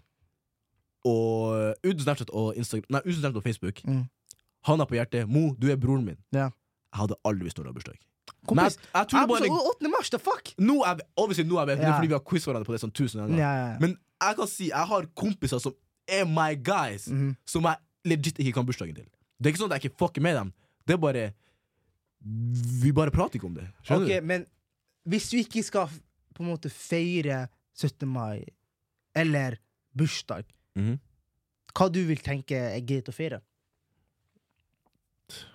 [SPEAKER 1] og Uten Snapchat og, Instagram, nei, uten Snapchat og Facebook.
[SPEAKER 2] Mm.
[SPEAKER 1] Handa på hjertet. Mo, du er broren min.
[SPEAKER 2] Ja.
[SPEAKER 1] Jeg hadde aldri visst når du har bursdag. Men jeg,
[SPEAKER 2] Kompis,
[SPEAKER 1] jeg tror det bare
[SPEAKER 2] jeg, 8. mars, the fuck!
[SPEAKER 1] Nå er vi, obviously nå er vi, det er
[SPEAKER 2] Ja.
[SPEAKER 1] fordi vi har quiz hverandre på det sånn tusen ganger.
[SPEAKER 2] Ja, ja, ja.
[SPEAKER 1] Men jeg kan si jeg har kompiser som er my guys,
[SPEAKER 2] Mhm.
[SPEAKER 1] som jeg legit ikke kan bursdagen til. Det er ikke sånn at jeg ikke fucker med dem. Det er bare Vi bare prater ikke om det. Skjønner
[SPEAKER 2] Ok,
[SPEAKER 1] du?
[SPEAKER 2] men hvis du ikke skal f- på en måte feire 17. mai eller bursdag,
[SPEAKER 1] Mhm.
[SPEAKER 2] hva du vil tenke er greit å feire?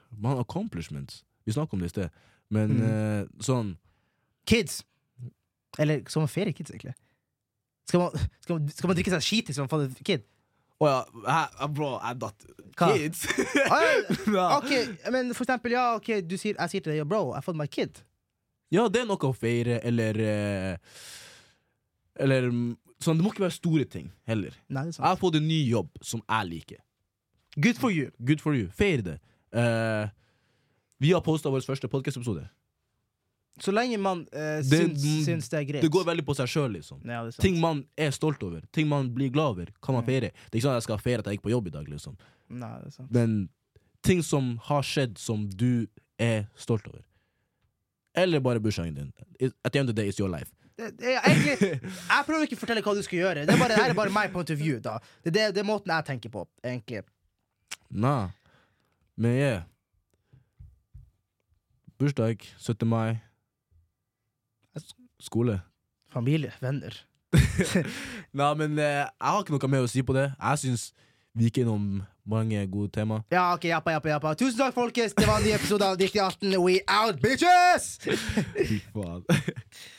[SPEAKER 1] Man har accomplishments. Vi snakket om det i sted. Men
[SPEAKER 2] Mm.
[SPEAKER 1] eh, sånn
[SPEAKER 2] Kids! Eller skal man feire kids, egentlig? Skal man, skal man, skal man drikke seg skitings som en kid?
[SPEAKER 1] Å ja, jeg, jeg, bro, jeg datt.
[SPEAKER 2] Hva?
[SPEAKER 1] Kids!
[SPEAKER 2] Ah,
[SPEAKER 1] ja.
[SPEAKER 2] ok, men for eksempel, ja, ok, du sier, jeg sier til deg, «Yo, bro, jeg har fått meg kid.
[SPEAKER 1] ja, det er noe å feire, eller eh, Eller mm, sånn, Det må ikke være store ting heller.
[SPEAKER 2] Nei, det er
[SPEAKER 1] Jeg
[SPEAKER 2] sant.
[SPEAKER 1] har fått en ny jobb som jeg liker.
[SPEAKER 2] Good for you.
[SPEAKER 1] Good for you. Feir det. Eh, vi har posta vår første podkastepisode.
[SPEAKER 2] Så lenge man eh,
[SPEAKER 1] Det-
[SPEAKER 2] syns,
[SPEAKER 1] mm,
[SPEAKER 2] syns det er greit.
[SPEAKER 1] Det går veldig på seg sjøl, liksom.
[SPEAKER 2] Ja, det er sant.
[SPEAKER 1] Ting man er stolt over, ting man blir glad over, kan man feire. Det er ikke sånn at jeg skal feire at jeg gikk på jobb i dag, liksom.
[SPEAKER 2] Nei, det er sant.
[SPEAKER 1] Men ting som har skjedd som du er stolt over. Eller bare bursdagen din. It- At the end of the day, it's your life.
[SPEAKER 2] det, det, er egentlig, jeg prøver ikke å fortelle hva du skal gjøre. Det er bare, det her er bare my point of view. da Det, det, det er måten jeg tenker på. egentlig
[SPEAKER 1] Nah. Men yeah. Bursdag, 17. mai. S- Skole.
[SPEAKER 2] Familie, venner.
[SPEAKER 1] Nei, men eh, jeg har ikke noe mer å si på det. Jeg syns vi gikk innom mange gode tema.
[SPEAKER 2] Ja, ok, jappa, jappa, jappa. Tusen takk, folkens! Det var en ny episode av Dikt i 18. We out, bitches!
[SPEAKER 1] Fy faen.